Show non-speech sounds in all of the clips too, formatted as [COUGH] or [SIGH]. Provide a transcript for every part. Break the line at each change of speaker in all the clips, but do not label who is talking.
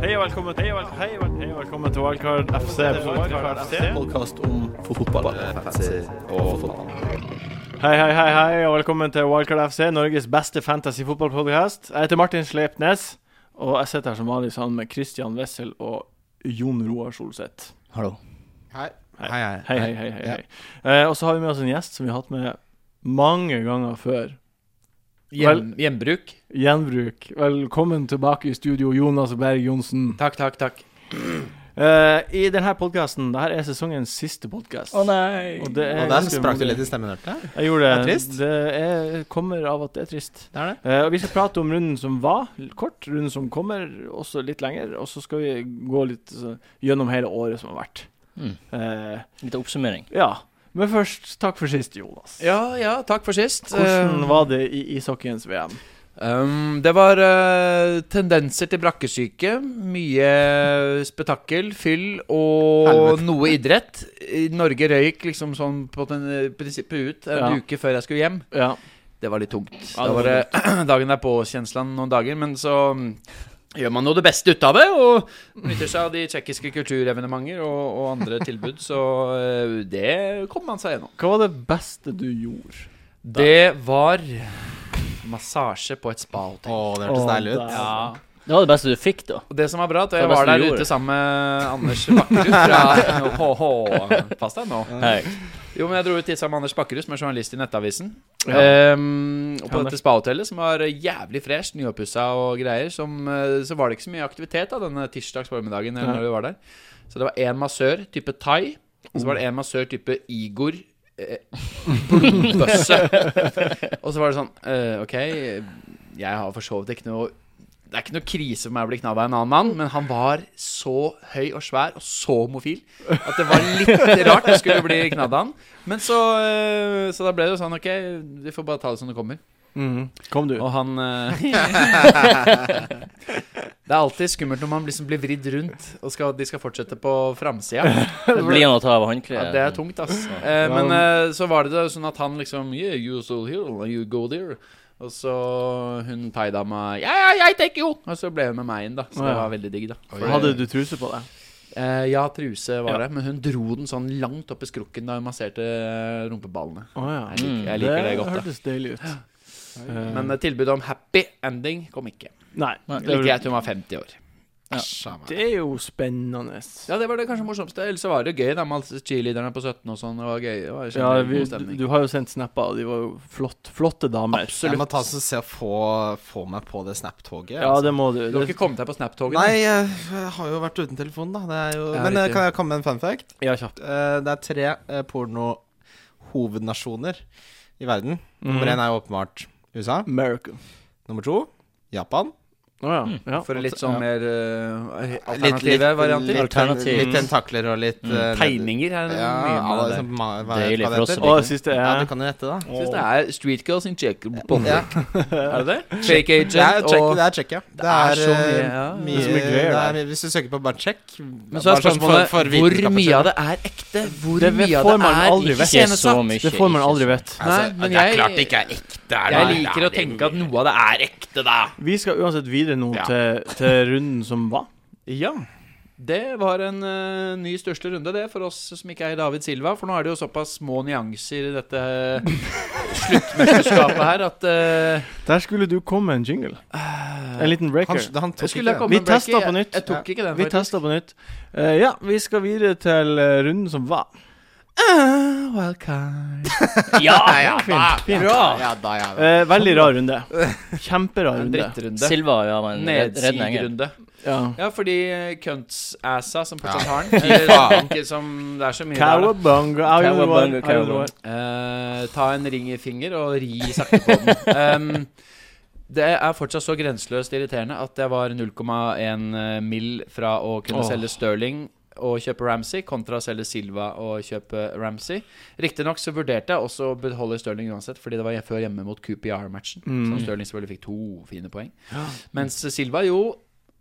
Hei og velkommen til Wildcard Hei og vel- hei og velkommen til Wildcard FC. Wildcard FC.
Podkast om fotball.
Hei, hei, hei, hei, og velkommen til Wildcard FC, Norges beste fantasy fotballpodcast. Jeg heter Martin Sleipnes, og jeg sitter her som vanlig sammen med Christian Wessel og Jon Roar Solseth.
Hallo.
Hei.
Hei, Hei, hei, hei, hei. Eh, og så har vi med oss en gjest som vi har hatt med mange ganger før.
Hjem, hjembruk.
Gjenbruk. Velkommen tilbake i studio, Jonas Berg Johnsen.
Takk, takk, takk.
Eh, I denne podkasten, dette er sesongens siste podkast.
nei!
Og, det er
Og der
ganske
sprakk du
modig.
litt i stemmen, hørte jeg.
Jeg gjorde det.
Det er trist.
Det er, kommer av at det er trist.
Det er det.
Eh, og Vi skal prate om runden som var, l- kort, runden som kommer, også litt lenger. Og så skal vi gå litt så, gjennom hele året som har vært.
Mm.
Eh,
Litt oppsummering.
ja. Men først, takk for sist, Jonas.
Ja, ja, takk for sist.
Hvordan
Eh,
var det i ishockeyens VM?
Um, det var eh, tendenser til brakkesyke, mye spetakkel, fyll og
Helvete.
noe idrett. I Norge røyk liksom sånn på den, eh, prinsippet ut en
Ja.
uke før jeg skulle hjem.
Ja.
Det var litt tungt.
Ja,
da
det var
var det [CLEARS THROAT] dagen derpå-kjenslen noen dager, men så mm, gjør man jo det beste ut av det, og benytter seg av de tsjekkiske kulturevenementer og, og [LAUGHS] andre tilbud, så eh, det kom man seg gjennom.
Hva var det beste du gjorde?
Det var massasje på et spahotell.
det hørtes
Å,
deilig ut.
der.
Ja.
Det var det beste du fikk, da.
Og det som var bra, at
Det
jeg
var
var
best
der
du
ute
gjorde.
sammen med Anders Bakkerud fra
[LAUGHS]
HH. Pass deg nå.
Hei.
Jo, men jeg dro ut dit sammen med Anders Bakkerud, som er journalist i Nettavisen.
Ja.
Ehm, og på
Ja,
dette spahotellet, som var jævlig fresh, nyoppussa og greier, som, eh, så var det ikke så mye aktivitet da, denne tirsdags formiddagen. Eller
Nei.
når vi var der Så det var én massør type thai, og så var det én massør type Igor. Eh, [LAUGHS] Blodbøsse.
[LAUGHS]
og så var det sånn eh, Ok, jeg har for så vidt ikke noe det er ikke noe krise for meg å bli knabba av en annen mann, men han var så høy og svær og så homofil at det var [LAUGHS] litt rart å skulle bli knadd av han. Men så, eh, så da ble det jo sånn, ok, vi får bare ta det som det kommer.
Mhm. Kom du?
Og han eh, [LAUGHS] Det er alltid skummelt når man liksom blir vridd rundt, og skal, de skal fortsette på framsida.
Det blir han å ta av
Ja,
håndkleet.
det er tungt, ass. Eh, men eh, så var det da sånn at han liksom Yeah, you so here, you go there. Og så hun thaidama Ja, ja, jeg tenker jo! Og så ble hun med meg inn, da. Så det
Ja.
var veldig digg, da. For-
Hadde du truse på deg?
Eh, ja, truse var
Ja.
det, men hun dro den sånn langt opp i skrukken da hun masserte eh, rumpeballene.
Å ja. Mm,
Jeg liker, jeg liker det godt, da.
hørtes deilig ut. Eh,
Men eh, tilbudet om happy ending kom ikke.
nei,
Nei,
det,
Like
er,
greit hun var 50 år.
det er jo spennende.
Ja, det var det kanskje morsomste. Ellers så var det jo gøy da med alle cheerleaderne på 17 og sånn. Det var gøy. Det var
Ja,
kjempe-
vi,
god stemning.
du har jo sendt snapper, og de var jo flott, flotte damer.
Absolutt.
Jeg må ta og se og få, få meg på det Snap-toget. altså.
Ja, det må du.
Du
Det-
har ikke kommet deg på Snap-toget?
Nei, jeg jeg har jo vært uten telefon, da. Det er jo...
Ja,
Men eh,
riktig.
kan jeg komme med en fun fact?
Ja, kjapt.
Eh, Det er tre eh, pornohovednasjoner i verden.
Mhm.
Mm.
Nummer én er jo åpenbart USA.
American.
Nummer to Japan.
Å ja. ja.
For litt sånn
Ja.
mer eh, alternative varianter?
Litt, litt,
Alternativ.
litt tentakler og litt
Mm.
eh,
Mm. Tegninger er
Ja,
mye med
alle
det.
som- hva- hva
Deilig
hva
for
det
oss
heter?
å
Og det siste
Ja, du
er
kan jo gjette, da.
Jeg synes det er Street Girls in Czech Republic.
Ja.
Er det det? Fake
Det er
Agent
check,
og
det er check, ja. Det
er
er,
så mye,
eh,
ja.
mye,
Det er så mye greier
det
der.
er mye- Hvis du søker på bare check
Men så er spørsmålet hvor mye av det er ekte? Hvor
Det
mye av
får
det
man
er
aldri
ikke
vite.
så
scenesatt?
mye.
Det får man aldri vite.
Nei, men jeg,
ikke Altså, er ekte.
jeg liker å tenke at noe av det er
[LAUGHS]
ekte, da.
Vi skal uansett videre nå
Ja.
til, til runden som var.
Ja. Det var en eh, ny største runde, det, for oss som ikke er David Silva. For nå er det jo såpass små nyanser i dette sluttmesterskapet her at eh,
Der skulle du komme med en jingle. En liten
Han,
breaker.
han tok
jeg skulle
ikke
komme
Vi
med en break.
testa på nytt.
Jeg, jeg tok ikke den,
Vi
faktisk.
testa på nytt. Eh, ja, vi skal videre til eh, runden som var.
Ah, wildcard.
Ja,
Fint. fint.
den. Ja, da, ja, da.
Eh, veldig rar runde. Kjemperar
En
runde.
drittrunde.
Silva ja, var en red- reddende engel.
Nedsigrunde.
Ja.
Ja, fordi eh, cunts-assa som fortsatt
Ja.
har den eller, ikke som, Det er så mye der, da.
Cowabunga. I don't know what-
Cowabunga,
I don't know what.
Eh, ta en ring i finger og ri sakte
[LAUGHS]
på den. Um, det er fortsatt så grenseløst irriterende at jeg var 0,1 eh, mill. fra å kunne
Åh.
selge Sterling og kjøpe Ramsey, kontra å selge Silva og kjøpe Ramsey. Riktignok så vurderte jeg også å beholde Sterling uansett, fordi det var før hjemme mot QPR-matchen.
Mm.
Så Sterling selvfølgelig fikk to fine poeng.
Ja.
Mens Silva jo eh,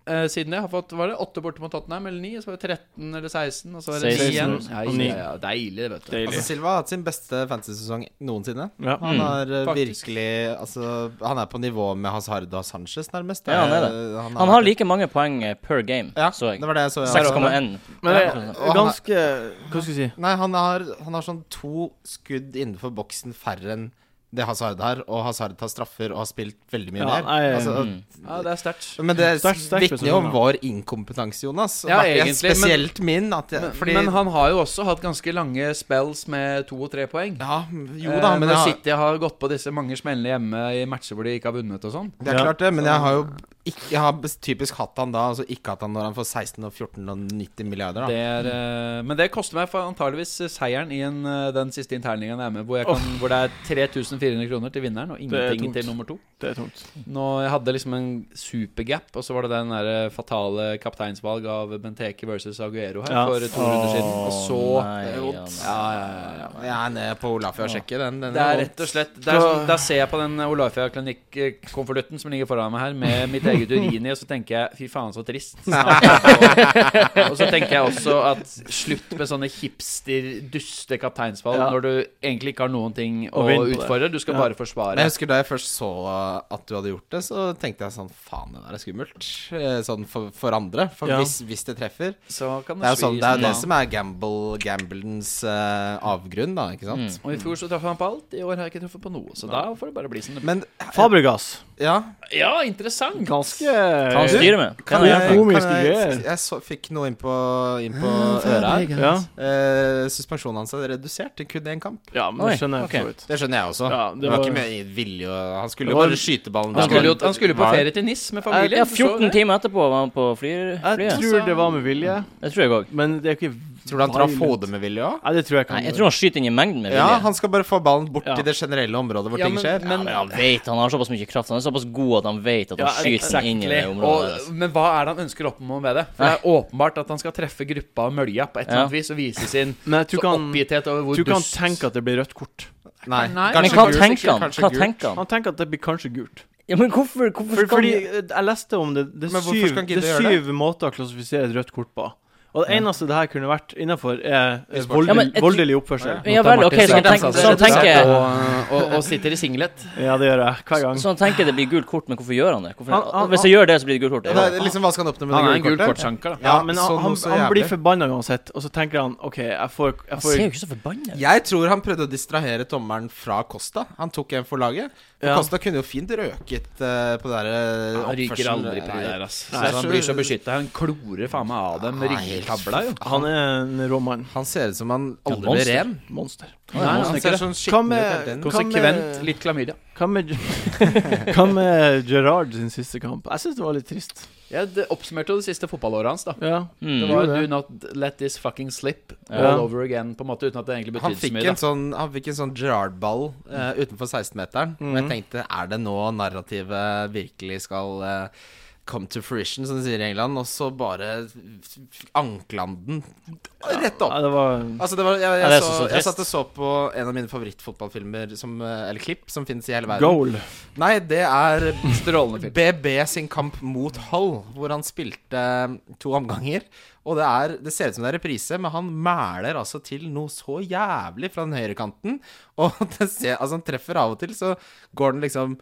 eh, siden det. Har fått var det, åtte borte mot Tottenham, eller ni? Og så var det 13 eller 16, og så var det
16
ni igjen. Ja,
og ni.
ja, ja, deilig, det, vet du.
Deilig.
Altså, Silva har hatt sin beste fantasy-sesong noensinne.
Ja.
Han
Mm,
har eh,
faktisk.
virkelig Altså, han er på nivå med Hazard og Sanchez, nærmest. Eh,
Ja, han er
det.
Han har like mange poeng eh, per game,
Ja,
så jeg.
det var det jeg så. jeg også.
6,1.
Men det
Ja.
er ganske Hva skal jeg si?
Nei, han har, han har sånn to skudd innenfor boksen færre enn det Hazard har, og Hazard tar straffer og har spilt veldig mye
Ja,
mer.
nei,
altså,
Mm.
Ja, det er sterkt.
men det
Sterkt, sterkt,
vitner jo om
Peterson, ja.
vår inkompetanse, Jonas. Og
Ja,
det er
egentlig, men-
Spesielt min. At jeg,
Men,
fordi,
men han har jo også hatt ganske lange spells med to og tre poeng.
Ja, jo da,
Eh,
men jeg,
når
har-
City har gått på disse mange smellene hjemme i matcher hvor de ikke har vunnet og sånn.
det er klart det. Men jeg har jo ikke, jeg har bes- typisk hatt han da, og så ikke hatt han når han får 16 og 14 og 90 milliarder. Da.
Det er, eh, men det koster meg fa- antageligvis seieren i en, eh, den siste internligaen jeg er med, hvor, jeg kan, hvor det er 3400 kroner til vinneren og ingenting
tungt.
til nummer to.
Det er tungt.
Nå, jeg hadde liksom en supergap, og så var det den der eh, fatale kapteinsvalg av Benteke versus Aguero her
Ja.
for to runder siden. Og så
Å, nei,
Eh,
Jan.
ja, ja, ja, ja.
Jeg er nede på Olafia og sjekker den. den
Det er rett og slett det er, sånn- Da ser jeg på den Olafia-klinikk-konvolutten som ligger foran meg her, med mitt eget urin i, og så tenker jeg fy faen,
[LAUGHS]
så trist. Snart er det- og så tenker jeg også at slutt med sånne hipster-duste kapteinsvalg
Ja.
når du egentlig ikke har noen ting å
Å vinne på
utfordre. Du skal
Ja.
bare
Men jeg
forsvare.
husker Da jeg først så at du hadde gjort det, så tenkte jeg sånn Faen, det der er skummelt. Eh, Sånn for, for andre. For
Ja.
hvis, hvis det treffer
Så kan
Det er jo sånn,
svi
det er jo
som
det
faen.
som er gamble, gamblens eh, avgrunn, da. Ikke sant?
Mm.
Og i fjor så traff han på alt, i år har jeg ikke truffet på noe. Så da får det bare bli som det blir.
Men
Fabregas.
ja
Ja, interessant!
Ganske
Kan han styre med?
Eh, kan
Kan han
jeg-
gjøre det?
komiske
kan jeg,
greier.
jeg så, fikk noe inn på, inn på øret her.
Ja,
Eh, suspensjonen hans er redusert til kun én kamp.
ja men
Oi,
det skjønner jeg
ok.
for så vidt.
Det skjønner jeg også.
Ja, det
det, var,
var-
ikke med vilje. og- Han skulle
Det
jo
var-
bare skyte ballen.
Han
der.
skulle jo han skulle på
Nei.
ferie til NIS med familien.
Ja,
så-
14 timer etterpå var han på fly,
Jeg
flyet.
tror det var med vilje,
Det tror jeg òg.
men det er ikke
Tror du han traff hodet med vilje òg?
Nei, det tror jeg
Nei,
kan
jeg tror han skyter inn i mengden med
Ja,
vilje.
han skal bare få ballen bort
Ja.
i det generelle området hvor
Ja,
ting
men-
skjer.
men-
Men han vet, han har såpass mye kraft, han er såpass god at han vet at han
Ja,
skyter den inn i det
exactly.
området. altså.
Og, men hva er det han ønsker å oppnå med det? For Det er åpenbart at han skal treffe gruppa og mølja på et eller annet
Ja.
vis og vise sin
Men jeg tror
så
ikke han
oppgitthet over hvor
tror ikke han
dust
tenker at det blir rødt kort.
Nei,
Nei.
Men
kanskje
hva
gult,
tenker han?
kanskje
Hva
gult.
tenker han?
Han tenker at det blir kanskje gult.
Ja, men hvorfor, hvorfor
For,
skal
fordi
han
eh, jeg leste om det. Det
Men
er
hvorfor
syv,
skal han
det
gidde
er
å
syv
gjøre
måter å klassifisere et rødt kort på. Og det eneste det her kunne vært innafor, er eh,
E-sport.
voldelig,
Ja, men jeg tror-
voldelig oppførsel.
Ja vel, ok,
sikkert
så han
ansatte
tenker, så
rett
han
og slett,
tenker
[LAUGHS] og, og, og sitter i singlet.
Ja, det gjør jeg hver gang.
Så han tenker det blir gult kort, men hvorfor gjør han det? Hvorfor,
Han- han-
hvis jeg gjør det, så blir det gult kort.
Ja,
Ja.
det er liksom, hva skal han oppnå med
Han er
det
en gul
gule kortet?
kortsanker, da.
Ja, men han,
sånn
han,
noe så
han
jævlig.
blir forbanna uansett, og så tenker han OK, jeg får, jeg
Han ser
får
jo ikke så forbanna ut.
Jeg tror han prøvde å distrahere tommelen fra Costa. Han tok en for laget. For
Ja.
Costa kunne jo fint røket eh, på det der eh,
Han ryker
oppførselen.
aldri på det
Nei.
der, ass.
Nei,
Så han
så-
blir så beskytta. Han klorer faen meg av dem
Nei,
ryggkabla, jo.
Han er en rå mann.
Han ser ut som han aldri blir
monster.
ren.
Monster.
Nei,
han
han ser
ser
ikke det.
sånn
Hva
skitten ut
med-
eh,
hele tiden.
hva-
Konsekvent litt klamydia.
Hva med, [LAUGHS] hva med Gerard sin siste kamp? Jeg syns det var litt trist.
Ja, det oppsummerte jo det siste fotballåret hans, da.
Ja.
Mm.
Det
jo
var
det.
'do not let this fucking slip
Ja.
all over again', på en måte, uten at det egentlig
Han
betydde så
fikk,
mye. da.
en sånn, han fikk en sånn Gerard-ball eh, utenfor 16-meteren. Og
Mhm.
jeg tenkte, er det nå narrativet virkelig skal eh, come to fruition, som de sier i England? Og så bare ankla han den rett opp.
Ja, det var
Altså det var, jeg,
Ja, det
jeg,
er
så,
så- så
jeg
trist.
satt og så på en av mine favorittfotballfilmer, som, eh, eller klipp, som finnes i hele verden.
goal.
Nei, det er
Strålende film.
BB sin kamp mot Hull, hvor han spilte eh, to omganger. Og det, er, det ser ut som det er reprise, men han mæler altså til noe så jævlig fra den høyrekanten. [LAUGHS] Og det ser, altså han treffer av og til, så går den liksom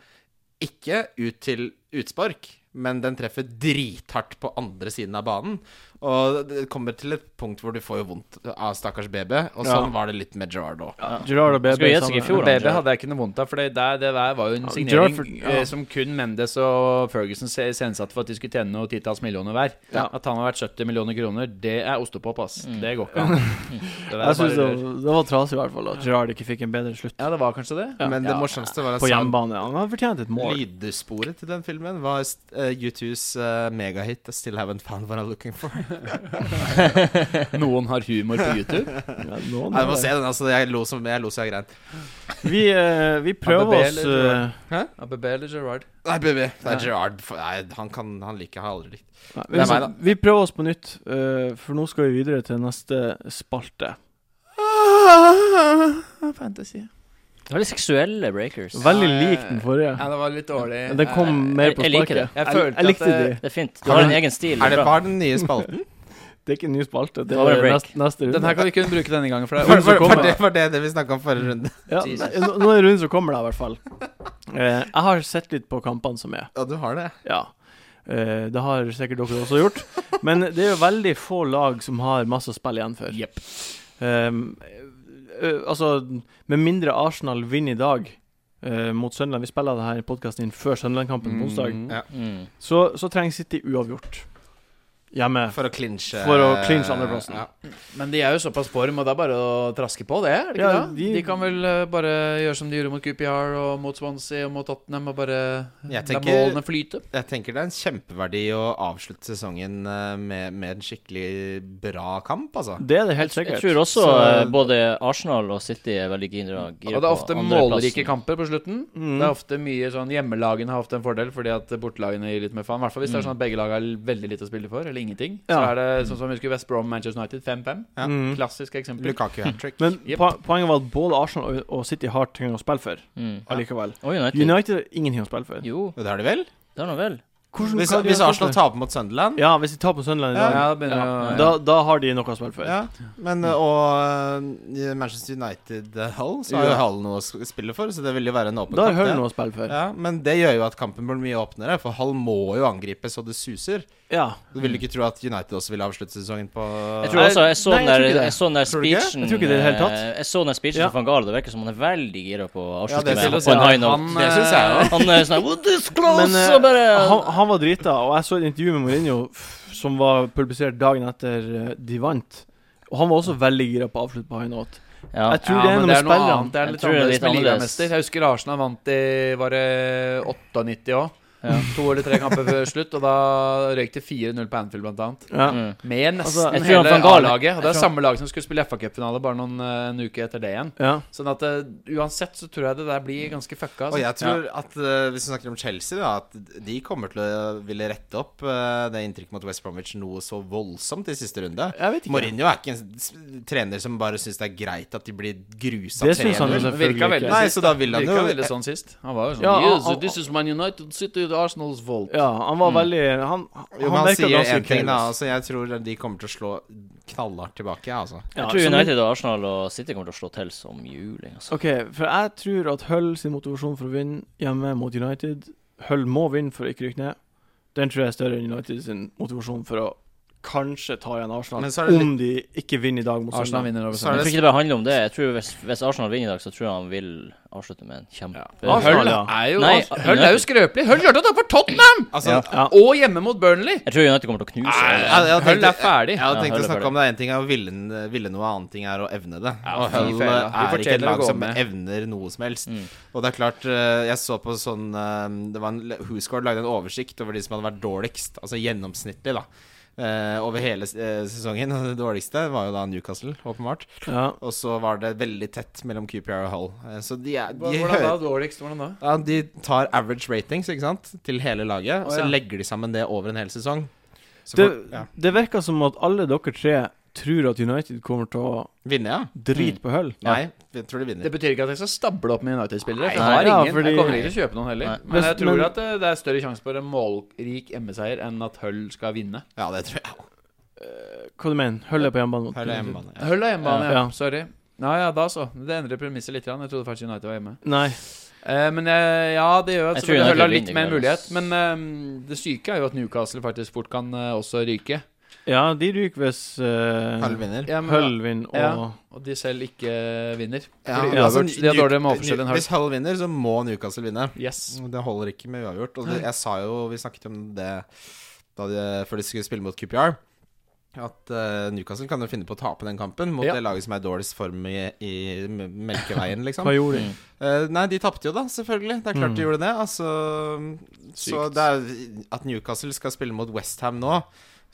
ikke ut til utspark, men den treffer drithardt på andre siden av banen. Og det kommer til et punkt hvor du får jo vondt av stakkars BB, og
Ja.
sånn var det litt med Gerard òg.
Gerard og BB
Skulle gjette seg i fjor, da.
Ja,
Men BB hadde jeg ikke noe vondt av, for det, der, det der var jo en
Ja,
signering
Gerrard for- ja.
eh, som kun Mendes og Ferguson se- iscenesatte for at de skulle tjene noen titalls millioner hver.
Ja.
At han har vært 70 millioner kroner, det er ostepop, ass. Det går ikke an. Det der er
Jeg synes det,
bare rør.
var- det var trasig i hvert fall at Gerard ikke fikk en bedre slutt
Ja, det var kanskje
[LAUGHS]
det.
Men det
Ja.
morsomste var at
på
Sam-
hjemmebane. Han har fortjent et mål.
Lydsporet til den filmen var eh, U2s eh, megahit I Still Haven't Found What I'm Looking For.
Noen har humor på YouTube.
Ja, noen
Nei, du
har
må
det.
se den, altså. Jeg lo som jeg, lo så jeg grein.
vi, eh, vi prøver
BB
oss
eller
eh,
ABB eller Gerard?
Nei, baby. Det er Gerard. F- Nei, han kan Han liker jeg har aldri likt.
nei,
Det er
vi-
meg, da.
Vi prøver oss på nytt, eh, for nå skal vi videre til neste spalte.
Fantasy.
Det var litt seksuelle breakers.
Veldig
Ja,
lik den forrige.
Ja, det var litt dårlig. Eh,
Den kom mer på
jeg liker det.
sparket.
Jeg følte at eh,
likte
det-
de.
Det er fint. Du
Har
har
du-
en egen stil.
Er det
bra.
bare den nye
[LAUGHS]
spalten?
Det er ikke en ny spalte. Det
Da var det
er
break.
neste, neste runde.
Den her kan vi ikke bruke denne gangen, for det
Var-
er
var-
som
var
kommer.
det var det, det vi snakka om forrige runde.
ja,
Jesus.
nei, nå nå er det runden som kommer, da, i hvert fall. Eh, jeg har sett litt på kampene som er.
Ja, du har det.
Ja. Eh, det har sikkert dere også gjort. Men det er jo veldig få lag som har masse å spille igjen for.
Jepp.
Ehm, eh, altså, med mindre Arsenal vinner i dag eh, mot Sunderland Vi spiller denne podkasten inn før Sunderland-kampen på onsdag.
Mm.
Ja.
Mm.
Så, så trenger City uavgjort hjemme.
For å clinche
For å clinche andreplassen.
Ja.
Men de er jo såpass form, og det er bare å traske på det, er det ikke
Ja,
det? De...
de-
kan vel eh, bare gjøre som de gjorde mot QPR og mot Swansea og mot Tottenham, og bare la
Jeg tenker-
målene flyte.
Jeg tenker det er en kjempeverdi å avslutte sesongen eh, med, med en skikkelig bra kamp, altså.
Det er det helt sikkert.
Jeg tror også
Så-
eh, både Arsenal og City er veldig gira.
Og det er ofte målrike kamper på slutten.
Mm.
Det er ofte mye sånn Hjemmelagene har ofte en fordel fordi at bortelagene gir litt mer faen. I hvert fall hvis det er
Mm.
sånn at begge lag har veldig lite å spille for, eller ingenting. Så
Ja.
er det sånn som vi husker West Brom Manchester United 5-5.
Ja.
Mm.
Klassisk eksempel.
Lukaku hat trick.
Men
Jep.
po- poenget var at både Arsenal og- og City har ting å spille for
Mm.
allikevel.
Og United.
United har ingenting å spille for.
Jo,
Og det har de vel?
det er nå vel.
Hvordan
Hvis,
kan de
hvis
ha
Arsenal
spilt for?
taper mot Sunderland
Ja, hvis de taper Sunderland i
Ja,
dag,
da begynner
Ja.
jeg å-
Da, da har de noe å spille for.
ja, men eh, Og eh, Manchester United eh, Hull, så har jo
Ja.
Hull noe å s- spille for, så det vil jo være en åpen
Da har
kamp.
Hull
det.
noe å spille for.
Ja, men det gjør jo at kampen blir mye åpnere, for Hull må jo angripe så det suser.
Ja.
Du vil ikke tro at United også ville avslutte sesongen på
Jeg
Nei,
tror også jeg så
nei, jeg
den
tror
der,
ikke det.
jeg så den der
Tror du ikke?
speechen
Jeg tror ikke det i det hele tatt.
eh, Jeg så den der speechen
Ja.
til van Gaal. Det virker som han er veldig gira på å
Ja,
avslutte
det
med
skulle
på en high
jeg si.
note.
Han,
Det syns jeg òg.
Han er sånn What is close?
Men eh,
og bare
han, han var drita, og jeg så et intervju med Mourinho f- som var publisert dagen etter eh, de vant. Og han var også veldig gira på å avslutte på high note.
ja.
Jeg tror det er noe med
annet.
spillerne.
Det er
Jeg
litt
tror det er
annerledes
litt
med
annerledes.
ligamester. Jeg husker Arsenal vant i var det 98 òg.
Ja.
To eller tre kamper før slutt, og da røyk det 4-0 på Anfield, blant annet.
Ja.
Mm.
Med nesten
Altså, jeg
tror han
hele
van Gaal-
A-laget. Og det
jeg
er
tror-
samme lag som skulle spille FA-cupfinale bare noen eh, en uke etter det igjen.
Ja.
Sånn at eh, uansett så tror jeg det der blir ganske fucka.
Og
Altså.
jeg tror at eh, hvis vi snakker om Chelsea, da, at de kommer til å ville rette opp eh, det inntrykket mot West Bromwich noe så voldsomt i siste runde.
Jeg vet ikke.
Mourinho er ikke en s- trener som bare syns det er greit at de blir grusa
Det synes han jo
3-0.
det
selvfølgelig
virka veldig
ikke.
Nei, så da vil han
Virka
jo
veldig sånn sist. Han var jo sånn
Ja,
yes,
han- han-
This is Man United, City, Arsenals fault.
Ja, han
Mm.
var veldig Han,
Jo,
han,
men han
virka
sier
ganske
én ting, da.
careless.
Altså, jeg tror de kommer til å slå knallhardt tilbake, jeg, altså.
Ja,
Jeg tror
som-
United og Arsenal og City kommer til å slå til som juling. Altså.
OK, for jeg tror at Hull sin motivasjon for å vinne hjemme mot United Hull må vinne for å ikke rykke ned. Den tror jeg er større enn United sin motivasjon for å kanskje ta igjen Arsenal,
Men så er det
om de ikke vinner i dag mot Sunderland.
Arsenal vinner over
Så er
Jeg
det-
tror ikke det bare handler om det. Jeg tror Hvis, hvis Arsenal vinner i dag, så tror jeg han vil avslutte med en kjempe...
Arsenal,
Hull
ja.
er jo,
Nei,
Hull er jo skrøpelig. Hull klarte å tape for Tottenham!
altså
Ja.
Og hjemme mot Burnley.
Jeg tror United kommer til å knuse
jeg,
alle.
jeg, jeg
Hull
tenkte,
er ferdig.
jeg hadde
Ja,
tenkt
Hull
å
er
snakke
ferdig.
om det. En ting er å ville, ville noe, annen ting er å evne det.
Ja,
og
fy
Hull
fela. De
er ikke
fortjener
et
å
lag
gå
som
med.
evner noe som helst.
Mm.
Og det er klart, eh, jeg så på sånn eh, Det var en Whoscore lagde en oversikt over de som hadde vært dårligst, altså gjennomsnittlig, da. eh, over hele eh, sesongen. [LAUGHS] Og det dårligste var jo da Newcastle, åpenbart.
Ja.
Og så var det veldig tett mellom QPR og Hull. Eh, så de er de,
Hvordan da,
hører,
dårligst? Hvordan da?
ja, de tar average ratings, ikke sant, til hele laget. Og
Å,
så
ja.
legger de sammen det over en hel sesong. Så
Det,
for- ja.
det virker som at alle dere tre tror at United kommer til å
Vinne, ja?
drite på hull.
Nei, jeg tror de vinner.
Det betyr ikke at jeg skal stable opp med United-spillere. for
Nei,
Jeg har
ja,
ingen.
fordi-
Jeg kommer ikke til å kjøpe noen heller.
Nei.
Men jeg
Men-
tror
men-
at det, det er større sjanse for en målrik hjemmeseier enn at Hull skal vinne.
Ja, det tror jeg.
Hva du mener Hull er på hjemmebane mot
Her er hjemmebane. Ja.
Hull er hjemmebane, ja.
Ja.
Sorry. Ja, ja, da så. Det endrer premisset litt. grann. Jeg trodde faktisk United var hjemme.
Nei.
Eh, men eh, ja, det gjør at
Jeg tror
selvfølgelig Hull har
United
litt
vinner,
mer
men-
mulighet. Men eh, det syke er jo at Newcastle faktisk fort kan eh, også ryke.
Ja, de ryker hvis eh,
Halv vinner.
Ja, men-
Hull vinner og
Ja. Og de selv ikke vinner.
Ja,
Fordi
ja,
altså,
uavgjort, de har
Nuke-
dårligere målforskjell enn
Nu-
Hull.
Hvis Hull vinner, så må Newcastle vinne.
Yes.
Det holder ikke med uavgjort. Og det, jeg sa jo, vi snakket om det da de, før de skulle spille mot QPR, at eh, Newcastle kan jo finne på å tape den kampen mot
Ja.
det laget som er i dårligst form i, i
[LAUGHS]
melkeveien, liksom.
Hva gjorde de?
Mm.
Eh, nei, de tapte jo, da, selvfølgelig. Det er klart de gjorde det. Altså, så
Mm. Sykt.
det er at Newcastle skal spille mot Westham nå,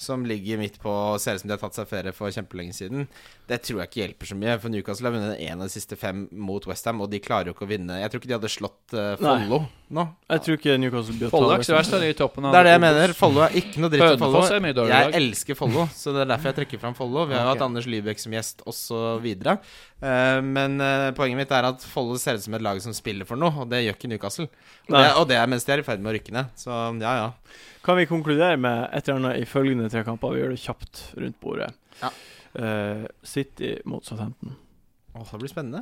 som ligger midt på Ser ut som de har tatt seg ferie for kjempelenge siden. Det tror jeg ikke hjelper så mye, for Newcastle har vunnet én av de siste fem mot Westham, og de klarer jo ikke å vinne Jeg tror ikke de hadde slått eh, Follo nå.
Jeg tror ikke Newcastle blir å ta
Follo er
West
ikke så
Ham.
verst. da, de er i toppen av
Det er det jeg mener. Follo er ikke noe dritt for Follo.
Hønefoss er mye dårligere
Jeg
lag.
elsker Follo, så det er derfor jeg trekker fram Follo. Vi har jo hatt Anders Lybekk som gjest, og så videre. Eh, men eh, poenget mitt er at Follo ser ut som et lag som spiller for noe, og det gjør ikke Newcastle. Og det,
Nei.
og det er mens de er i ferd med å rykke ned. Så ja, ja.
Kan vi konkludere med et eller annet i følgende tre kamper? Vi gjør det kjapt rundt bordet.
Ja.
Eh, City mot Southampton.
Åh, det blir spennende.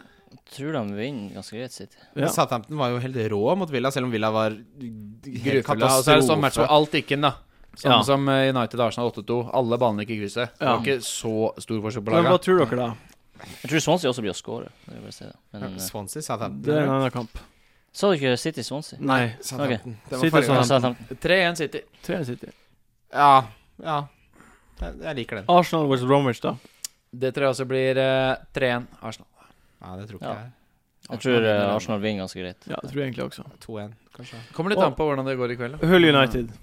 Tror de vinner ganske greit, City.
Ja.
Southampton var jo helt rå mot Villa, selv om Villa var helt
Grufulle. Og så er det sånn match hvor alt gikk inn, da. Sånn
Ja.
som eh, United Arsenal 8-2. Alle banene gikk i krysset. Det
Ja.
var ikke så stor forskjell på
Men hva
laga.
tror dere, da?
Jeg tror Swansea også blir å score. Det vil jeg si. Men eh,
Swansea, Southampton.
Det er en annen kamp.
sa du ikke City Swansea?
Nei.
Southampton. Det var
Sitter
forrige gang.
Southampton.
Ja, Southampton.
3-1 City.
Tre City.
Ja. ja. Jeg, jeg liker den.
Arsenal vs. Bromwich, da.
Det tror jeg også blir eh, 3-1 Arsenal.
Nei, det tror ikke
Ja.
jeg.
Jeg tror eh,
vinner
Arsenal vinner ganske greit.
Ja, det tror jeg egentlig også.
2-1, kanskje.
Kommer litt an på hvordan det går i kveld. da.
Hull United.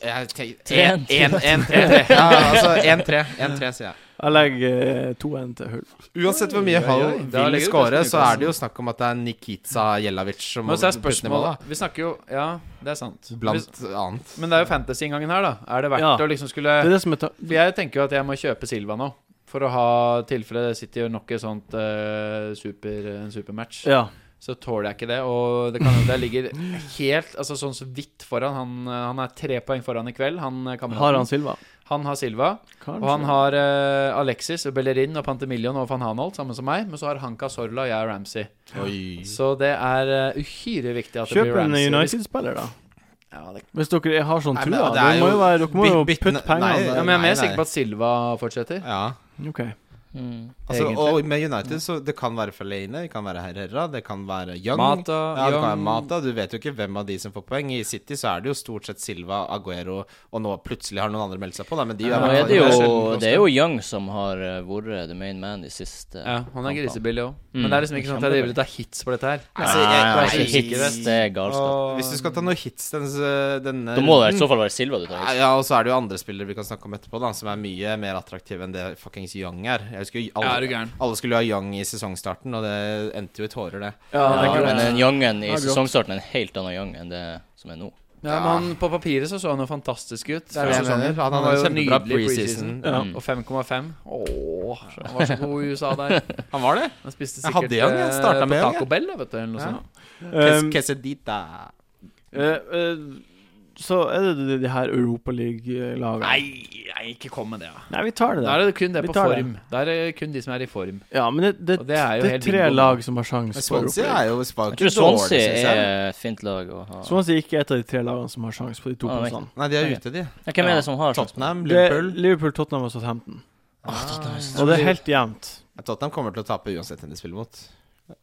Jeg tenk-
Tre-en.
1-3. Ja, altså 1-3, 1-3, sier jeg.
Jeg legger 2-1 til Hull.
Uansett hvor mye
Oi, oi, oi.
Hall
Da
vil
ligger det
skåre,
plutselig
så er det jo snakk om at det er Nikita Jelavic som
Men så er
putte ned målet,
spørsmålet Vi snakker jo Ja, det er sant.
da. Blant annet.
Men det er jo fantasy-inngangen her, da. Er det verdt
Ja.
å liksom skulle
Det er det som er ta
For jeg tenker jo at jeg må kjøpe Silva nå. For å ha tilfelle City gjør nok et sånt eh, super, en supermatch.
Ja.
Så tåler jeg ikke det. Og det kan hende jeg ligger helt Altså sånn så vidt foran. Han, eh, han er tre poeng foran i kveld, han eh, kameraten.
Har han Silva?
Han har Silva.
Kanskje.
Og han har eh, Alexis, Bellerin og Pantemillion og van Hanholt, sammen som meg. Men så har han Casorla og jeg er Ramsey.
Oi.
Så det er eh, uhyre viktig at det
Kjøp
blir
en
Ramsey.
United-spiller, da.
Ja, det,
Hvis dere har sånn
Nei, men
trua.
det er
Dere må
jo
jo, være- dere må jo
byt- bytte-
putte
nei,
pengene
ja,
der.
men jeg er
Nei,
mer
nei.
sikker på at Silva fortsetter.
Ja.
OK.
Mm.
Altså,
Egentlig.
og med United så det kan være Fellaine, det kan være Herrera, det kan være Young.
Mata,
ja, det kan være
Young.
Mata. Du vet jo ikke hvem av de som får poeng. I City så er det jo stort sett Silva, Aguero, og nå plutselig har noen andre meldt seg på, da, men de
Ja,
Nå
i hvert
er
fall-
det,
er
jo,
sjelden
det er jo Young som har eh, vært the main man de siste
Ja, han er
kampene.
grisebillig òg.
Mm.
Men det er liksom ikke sånn at jeg driver og tar hits på dette her.
Altså, jeg-
Nei,
jeg-
hits, det er galskap.
kostbart. Hvis du skal ta noen hits denne, denne
Da må det i
runden-
så fall være Silva du tar.
Ja,
hits.
ja, og så er det jo andre spillere vi kan snakke om etterpå, da, som er mye mer attraktive enn det fuckings Young er. Jeg husker jo
Ja, er du
alle,
gæren.
alle skulle jo ha Young i sesongstarten, og det endte jo i tårer, det.
Ja,
Ja,
men
det-
den Youngen i
Ja, grått.
sesongstarten er en helt annen Young enn det som er nå.
Ja, men på papiret så så han jo fantastisk ut.
Det er det jeg mener. Han hadde en kjempebra preseason. Mm.
Ja.
Mm.
Og 5,5. Åh, han var så god i USA der.
Han var det?
Han spiste
Jeg
sikkert
hadde han, jeg startet
eh,
med han,
på Taco Bell, vet du. Eller noe
Ja.
sånt.
Um,
Quesadita.
eh, eh, så er det de, de her Europaliga-lagene.
Nei, nei, ikke kom med det. da.
Nei, vi tar det,
Da
da.
er det kun det
Vi
på
tar det.
form. Da er det kun de som er i form.
Ja, men det, det,
Og
det
det er
er,
jo helt
tre
bingo, da.
lag som har sjanse for
Swansea eh,
Europaliga.
er jo var
Jeg
ikke
tror
dårlig,
Swansea
synes jeg.
er et fint lag å ha.
Swansea er ikke et av de tre lagene som har sjanse på de to
Ah, nei.
plassene.
Nei, de er
Ok.
ute, de.
Ja, Hvem er det som har sjanse på det?
Tottenham,
Det er
Liverpool.
Liverpool, Tottenham og Southampton.
Åh,
Og
Tottenham.
det er helt jevnt.
Ja, Tottenham kommer til å tape uansett hvem de spiller mot.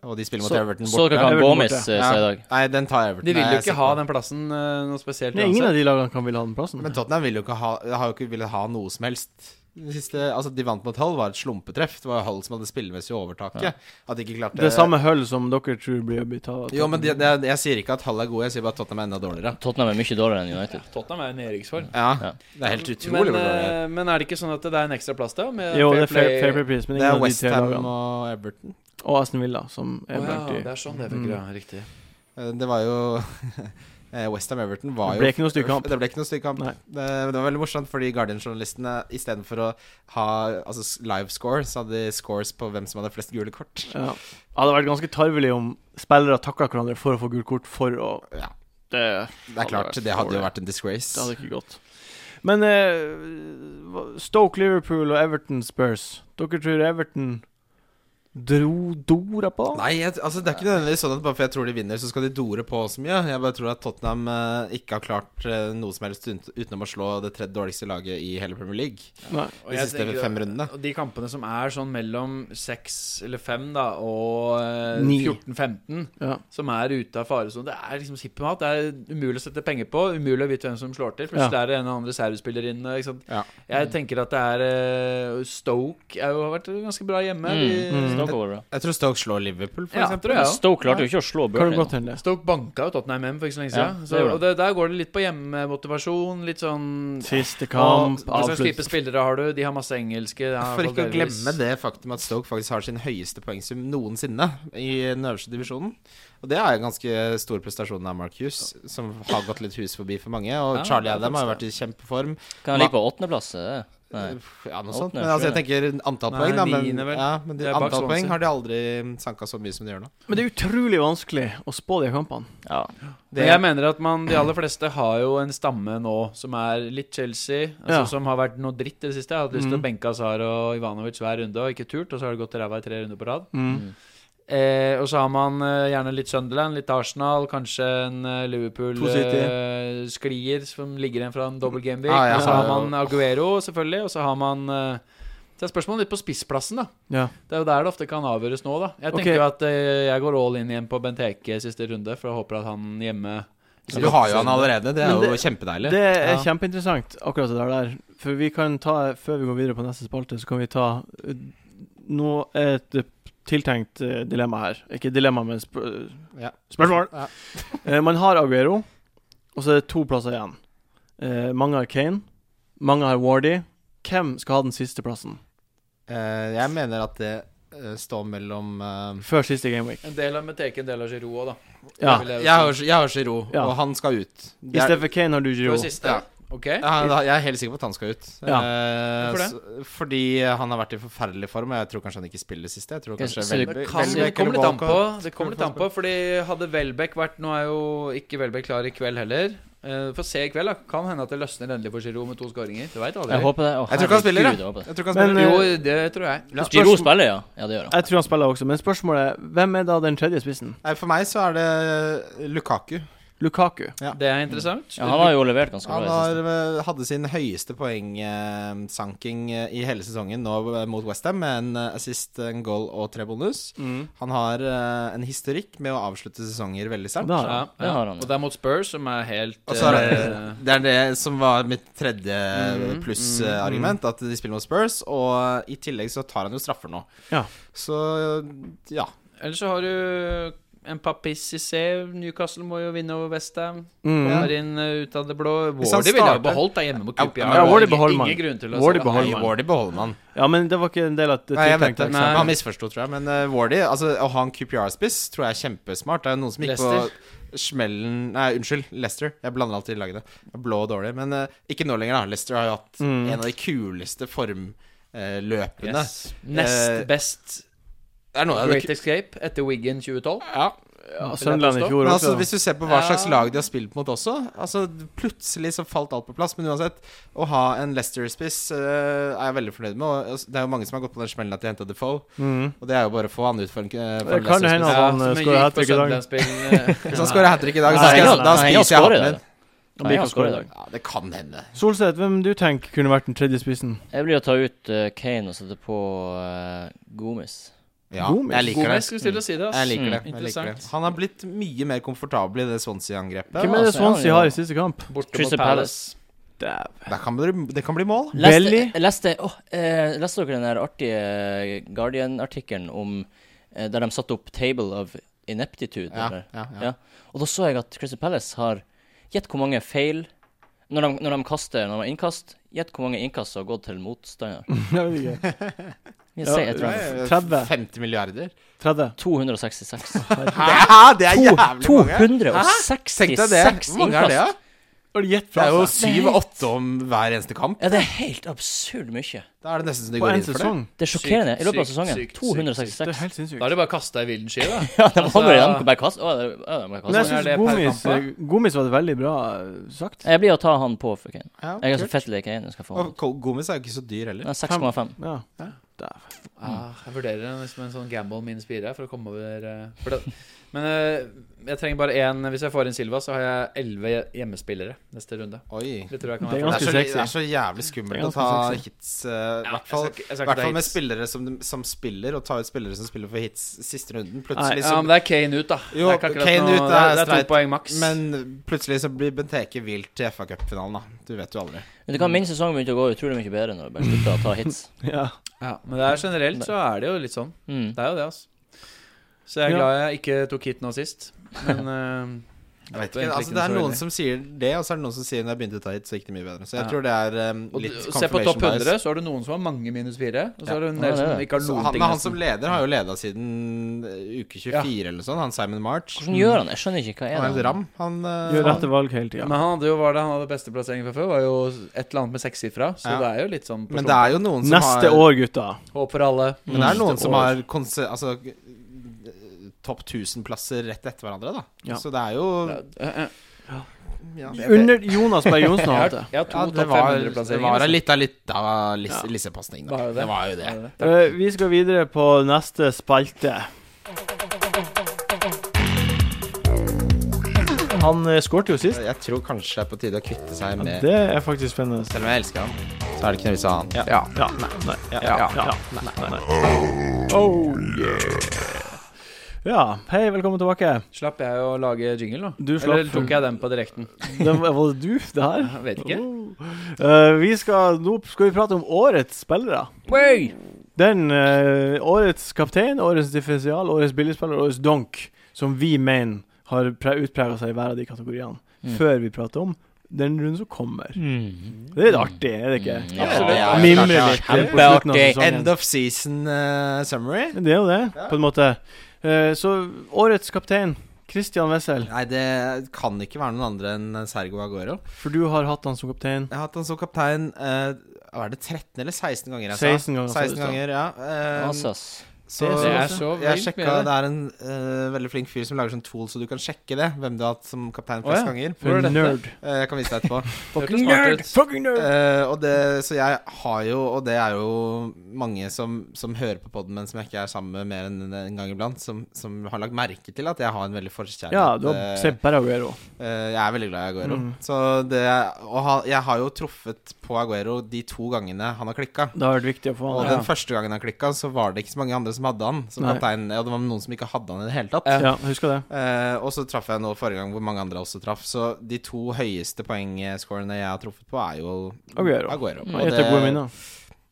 Og de spiller mot
Så-
Everton
Så
borte.
dere hva
Everton
Gomez eh,
borte.
sa i dag?
Nei, den tar Everton.
De vil
Nei,
jo
jeg er
ikke
sikker
ha
på
den plassen eh, noe spesielt.
Nei, ingen
uansett.
av de lagene kan ville ha den plassen.
Men Tottenham ville jo ikke ha, har jo ikke villet ha noe som helst. Det Siste, altså De vant mot Hull, var et slumpetreff. Det var jo Hull som hadde spillemessig overtaket. At de ikke klarte
Det er samme hull som dere tror blir å bli tatt.
Jo, men det- det- jeg sier ikke at Hull er gode, jeg sier bare at Tottenham er enda dårligere.
Tottenham er mye dårligere enn United.
Tottenham er jo i nedrykksform.
Ja,
Ja.
Det er helt utrolig
Men,
hvor dårlig det er.
eh, men er det ikke sånn at det er en ekstra plass der? Med
Jo,
fair
det er fair,
play-
fair play pris, men
Det
ingen av
er
de tre
Westham
lagene.
og Everton.
Og Aston Villa, som
Å
er blant
ja, det
de.
er sånn det funker, ja. Riktig.
Eh, Det var jo [LAUGHS] eh, Westham Everton var
Det
jo
ble ikke noe styrkamp.
Det ble ikke noe styrkamp.
Nei.
Det, det var veldig morsomt, fordi Guardian-journalistene istedenfor å ha altså, s- live score, så hadde de scores på hvem som hadde flest gule kort.
Ja. Det hadde vært ganske tarvelig om spillere takla hverandre for å få gult kort for å
Ja,
Det,
det er klart. Det hadde jo vært en disgrace.
Det hadde ikke gått. Men eh, hva- Stoke, Liverpool og Everton Spurs Dere tror Everton dro dora på?
Nei, jeg, altså det er ikke nødvendigvis sånn at bare for jeg tror de vinner, så skal de dore på så mye. Jeg bare tror at Tottenham eh, ikke har klart eh, noe som helst ut- utenom å slå det tredje dårligste laget i hele Premier League
Nei.
Og
de
jeg
siste
tenker-
fem rundene.
Og de kampene som er sånn mellom seks eller fem da, og eh,
Ni.
14-15,
Ja.
som er ute av faresonen, det er liksom hipp som happ. Det er umulig å sette penger på, umulig å vite hvem som slår til. Plutselig
Ja.
er det en eller andre servespiller inne. Ikke sant?
Ja.
Jeg tenker at det er eh, Stoke er jo, har vært ganske bra hjemme.
Mm.
De,
Stoke var bra.
Jeg tror Stoke slår Liverpool, for
Ja,
eksempel.
tror jeg også.
Stoke klarte jo ikke å slå
Kan det
Burnley.
godt hende.
Stoke banka jo Tottenham hjem for ikke så lenge
Ja,
siden.
det
så,
gjorde
og det, der går det litt på hjemmemotivasjon. Litt sånn
Siste kamp,
Hva slags
avslutt.
type spillere har du? De har masse engelske. de har
For ikke å
delvis-
glemme det faktum at Stoke faktisk har sin høyeste poengsum noensinne i den øverste divisjonen. Og Og det er en ganske stor prestasjon av Mark Hughes, som har gått litt hus forbi for mange. Og
Ja,
Charlie
det er
Adam har jo vært
faktisk
i kjempeform.
Kan han ligge på åttendeplass? er det? Nei.
Ja, noe sånt.
Åttende,
Men altså, jeg
sjuende.
tenker antall
Nei,
poeng, da. Men,
niende vel.
ja, men de,
Det er bak
antall poeng
Swansea.
har de aldri sanka så mye som de gjør nå.
Men det er utrolig vanskelig å spå de kampene.
Ja.
Men jeg mener at man, de aller fleste har jo en stamme nå som er litt Chelsea, altså
Ja.
som har vært noe dritt i det siste. Jeg har hatt lyst til
Mhm.
å benke Azar og Ivanovic hver runde og ikke turt, og så har det gått ræva i tre runder på rad.
Mm.
Eh, og så har man eh, gjerne litt Sunderland, litt Arsenal, kanskje en eh,
To City.
Liverpool-sklier som ligger igjen fra en double game week.
Ah, ja,
og så har
ja, ja.
man Aguero, selvfølgelig, og så har man eh, Så er spørsmålet litt på spissplassen, da.
Ja.
Det er jo der det ofte kan avgjøres nå, da. Jeg
Ok.
tenker jo at eh, jeg går all in igjen på Benteke siste runde, for jeg håper at han hjemme
Ja, du har jo han allerede. Det
Men
er jo
det-
kjempedeilig.
Det er
Ja.
kjempeinteressant, akkurat det der der. For vi kan ta, før vi går videre på neste spalte, så kan vi ta eh, nå er et eh, tiltenkt eh, dilemma her. Ikke dilemma, men sp
Ja.
spørsmål.
Ja.
Eh, Man har Aguero, og så er det to plasser igjen. Eh, Mange har Kane, mange har Wardy. Hvem skal ha den siste plassen
Eh, jeg mener at det eh, står mellom eh,
før siste gameweek?
En del av Benteke, en del av Giroud òg, da.
Ja.
Det vil
Jeg
jo
har, jeg har Giroud,
Ja.
og han skal ut.
I stedet for Kane har du
si. Det
Giro.
var siste.
Ja.
Ok.
Ja, han- jeg er helt sikker på at han skal ut.
Ja.
Eh,
Hvorfor
s- fordi han har vært i forferdelig form, og jeg tror kanskje han ikke spiller sist. Jeg tror
Jeg
kanskje
synes det
Welbeck-
Det kan-
Welbeck
det kommer litt
eller
an på.
Walcott-
Det kommer litt an på Fordi hadde Welbeck vært Nå er jo ikke Welbeck klar i kveld heller. Eh, Få se i kveld. da Kan hende at det løsner endelig for Giroud med to skåringer. Du veit aldri.
Jeg håper det. Å,
Jeg tror ikke han spiller,
herregud, jeg håper det.
Jeg tror ikke han
Men,
spiller.
eh,
Jo, det tror jeg.
Ja.
Giro spiller, ja. Ja, det gjør han.
Jeg tror han spiller også, men spørsmålet er hvem er da den tredje spissen?
Nei, for meg så er det Lukaku.
Lukaku.
Det er interessant.
Ja, han har jo levert ganske
Han
bra. i det
har, eh, hadde sin høyeste poengsanking eh, i hele sesongen nå eh, mot Westham, med en eh, assist, en goal og tre bonus. Han har eh, en historikk med å avslutte sesonger veldig sterkt.
Da har
Ja,
han.
Det har han.
Og det er mot Spurs, som er helt
Og så er det, Mm,
eh,
det er det som var mitt tredje
Mhm,
pluss-argument, at de spiller mot Spurs. Og i tillegg så tar han jo straffer nå.
Ja.
Så ja.
Ellers så har du en papiss i C. Newcastle må jo vinne over Westham.
Mm.
Kommer inn eh, ut av det blå.
Hvis han
Wardy ville jeg
starter-
jo beholdt deg hjemme mot
Ja,
Kupia.
ja,
Wardy
ingen,
beholder man.
ingen grunn til å
Wardy
se-
beholder
Nei,
man.
Wardy beholder man.
Ja, men det var ikke en del av det
Nei, jeg vet
tiltenkte.
det.
Nei.
Han misforsto, tror jeg. Men eh, Wardy, altså, å ha en QPR-spiss, tror jeg er kjempesmart. Det er jo noen som gikk på smellen Nei, unnskyld. Leicester. Jeg blander alltid lagene. Jeg er Blå og dårlig. Men eh, ikke nå lenger, da. Leicester har jo hatt
Mm.
en av de kuleste formløpene.
Yes. Nest
Eh,
best
Det er noe av det
Great Escape etter Wigan 2012.
ja,
Ja, Sunderland i fjor
Men
også.
altså, hvis du ser på hva
Ja.
slags lag de har spilt mot også altså, Plutselig så falt alt på plass. Men uansett, å ha en Leicester-spiss eh, er jeg veldig fornøyd med. Og altså, det er jo mange som har gått på den smellen at de henta Defoe.
Mm.
Og det er jo bare å få han ut for en, eh, for
Det
en
kan jo hende
Leicester-spiss.
at han eh, skårer hat trick i dag.
eh,
[LAUGHS] Hvis han skårer hat trick i dag, så
Nei,
skal jeg,
nei,
da
nei, han
spiser jeg
scorer
hatten min.
det.
Han blir
han
ikke å score
skårer
i
i
dag.
dag.
Ja, det kan hende.
Solseth, hvem du tenker kunne vært den tredje spissen?
Jeg blir å ta ut eh, Kane og sette på eh, Gomis.
Ja,
Gomes.
jeg liker det.
skulle til å si det, ass. Mm.
Jeg liker det. Jeg liker det.
Interessant.
Han har blitt mye mer komfortabel i det Swansea-angrepet.
Hvem er det
altså, ja,
Swansea
ja.
har i siste kamp?
Borte mot
Crystal
Palace.
Dæven.
Det kan, bli- det kan bli mål.
Leste,
Belly? [LAUGHS]
leste, åh, eh, leste dere den der artige Guardian-artikkelen om eh, Der de satte opp 'Table of Ineptitude'?
Ja,
Eller?
ja, ja.
Ja. Og da så jeg at Crystal Palace har Gjett hvor mange feil når de, når de kaster når de har innkast. Gjett hvor mange innkast som har gått til motstander.
Jeg vet ikke.
Vi
Ja,
sier et
ja,
eller annet.
ja. 30.
50 milliarder.
30.
[LAUGHS]
266.
Hæ? Det er
To-
jævlig mange.
266
Tenk deg det. Hvor mange er det, da?
innkast!
Har du gitt
Det
fra
er jo
seg?
syv-åtte om hver eneste kamp.
Ja, det er helt absurd mye.
Da er det nesten så de
På
går
en
inn for det.
sesong?
Det er sjokkerende. I løpet av
sykt,
sesongen.
sykt, sykt,
Det er
266.
helt sinnssykt.
Da er det bare kasta i vilden sky, da.
[LAUGHS] Ja, de
Altså-
holder i dem. Bare kast. Å, det er- ja, de bare
Men jeg
Hvor
kaster.
mange
syns
er det per
Gomis,
kamp,
Gomis var det veldig bra eh, sagt.
Jeg blir å ta han på for Kane.
Ja,
Jeg er så
kult.
fett lei Kane. Jeg skal få han.
Og Col- Gomes er jo ikke så dyr
Den
heller.
er 6,5.
Ja.
Ah, jeg vurderer den som en sånn gamble minus fire for å komme over eh, for det. Men eh, jeg trenger bare én. Hvis jeg får inn Silva, så har jeg elleve hjemmespillere neste runde.
Oi.
Det tror jeg
Det er
kan være
Det er,
ganske
så,
sexy.
det er så jævlig
Det
skummelt
er
å
ganske
ta
sexy.
hits, uh,
Ja,
hvert fall
jeg skal ikke- jeg skal
hvert
ikke ta
fall med
hits.
spillere som, som spiller, og ta ut spillere som spiller for hits siste runden.
Nei,
Plutselig
Ja, men det er Kane ut, da.
Jo,
Det er ikke akkurat
Kane
noe-
ut er
det er, det er
streit,
to poeng maks.
så Men plutselig så blir Benteke vilt til FA Cup-finalen, da. Du vet jo aldri.
Men du kan Min sesong begynte å gå utrolig mye bedre når jeg bare slutta å ta hits.
ja.
ja, men det er generelt så er det jo litt sånn.
Mm.
Det er jo det, altså. Så jeg er
Ja.
[LAUGHS]
glad jeg ikke tok hit nå sist.
Jeg
Men
vet ikke,
Det er egentlig
altså
ikke
Det er
noe så
noen
veldig.
som sier det, og så er det noen som sier når jeg begynte å ta hit, så gikk det mye bedre. Så jeg
Ja.
tror det er um,
Og
litt
d- Se på topp 100,
bias.
så har du noen som har mange minus fire. Og så
Ja.
har du en
Ja,
del
det
som
er det.
ikke har
Så
noen
han,
ting.
men han
nesten.
som leder har jo leda siden eh, uke 24 eller sånn, han Simon March.
Hvordan gjør han det? Jeg skjønner ikke.
Han er
Hva er
helt
det?
ram. Han, eh,
Gjør
han
rette valg hele tida.
Men han hadde jo var det, han hadde beste plasseringen fra før, var jo et eller annet med sekssifra. Så
Ja.
det er jo litt sånn
Men det er jo noen som
Neste
har
år, gutta.
Håp for alle. Mm.
Men det er noen
Neste
som
år.
har konse, altså, eh, topp 1000-plasser rett etter hverandre, da.
Ja.
Så det er jo
Ja, eh, eh.
ja.
Under Jonas Berg Johnsen
Jeg
har
[LAUGHS] har,
hatt det.
jeg har to
Ja, det
topp
var, det
500-plasseringer.
var
altså.
litt av litt av lis,
Ja.
lissepasning,
Var
da.
det det?
Det var jo det.
Eh, vi skal videre på neste spalte. Han eh, skårte jo sist.
Jeg tror kanskje det er på tide å kvitte seg med
Det er faktisk spennende.
Selv om jeg elsker han, så er det ikke noe vits i å ha han.
Ja.
Ja. Nei. Nei. Ja.
Ja.
ja, Nei. Nei. Oh, yeah. Ja. Hei, velkommen tilbake.
Slapp jeg å lage jingle, da?
Du slapp.
Eller tok jeg den på direkten?
Den, var det du, det her?
Jeg vet ikke.
Eh, vi skal, nå skal vi prate om årets spillere.
Way!
Den eh, årets kaptein, årets differensial, årets billigspiller, årets donk, som vi mener har utprega seg i hver av de kategoriene,
Mm.
før vi prater om den runden som kommer.
Mm.
Det er litt artig, er det ikke?
Mm,
Mm,
ja.
Ja,
Mimre litt
kanskje.
eh, på slutten
Kjempeartig.
av sesongen.
End of season eh, summary?
Det er jo det, på en måte. Eh, så årets kaptein, Christian Wessel,
Nei, det kan ikke være noen andre enn Sergo Aguero.
for du har hatt han som kaptein.
Jeg har hatt han som kaptein eh, Hva er det 13 eller 16 ganger jeg sa?
16 ganger, sa du,
16
sa.
ganger, ja. Eh,
Asas.
så,
Det er
altså, så
jeg
vilt
sjekka,
mye, det.
Det er en eh, veldig flink fyr som lager sånn tool, så du kan sjekke det. Hvem du har hatt som kaptein
Å,
flest
ja.
ganger.
For
Hvor er dette?
nerd.
Eh, jeg kan vise deg etterpå.
[LAUGHS] Hørtes smart ut.
Fucking nerd!
Eh, og det, så jeg har jo, og det er jo mange som, som hører på podden, men som jeg ikke er sammen med mer enn en gang iblant, som, som har lagt merke til at jeg har en veldig forkjærlighet.
Ja, du har
eh,
sett bare Aguero.
eh, jeg er veldig glad i Aguero.
Mm.
Så det, og ha, jeg har jo truffet på Aguero de to gangene han har klikka.
Det har vært viktig å få
Og
han.
Ja.
den første gangen han klikka, så var det ikke så mange andre som hadde han. Som
Nei.
kaptein, og det var noen som ikke hadde han i det hele tatt.
Ja, husker det.
Eh, og så traff jeg nå forrige gang hvor mange andre også traff. Så de to høyeste poengscorene jeg har truffet på, er jo
Aguero. Mm.
Aguero.
Jeg heter gode minner.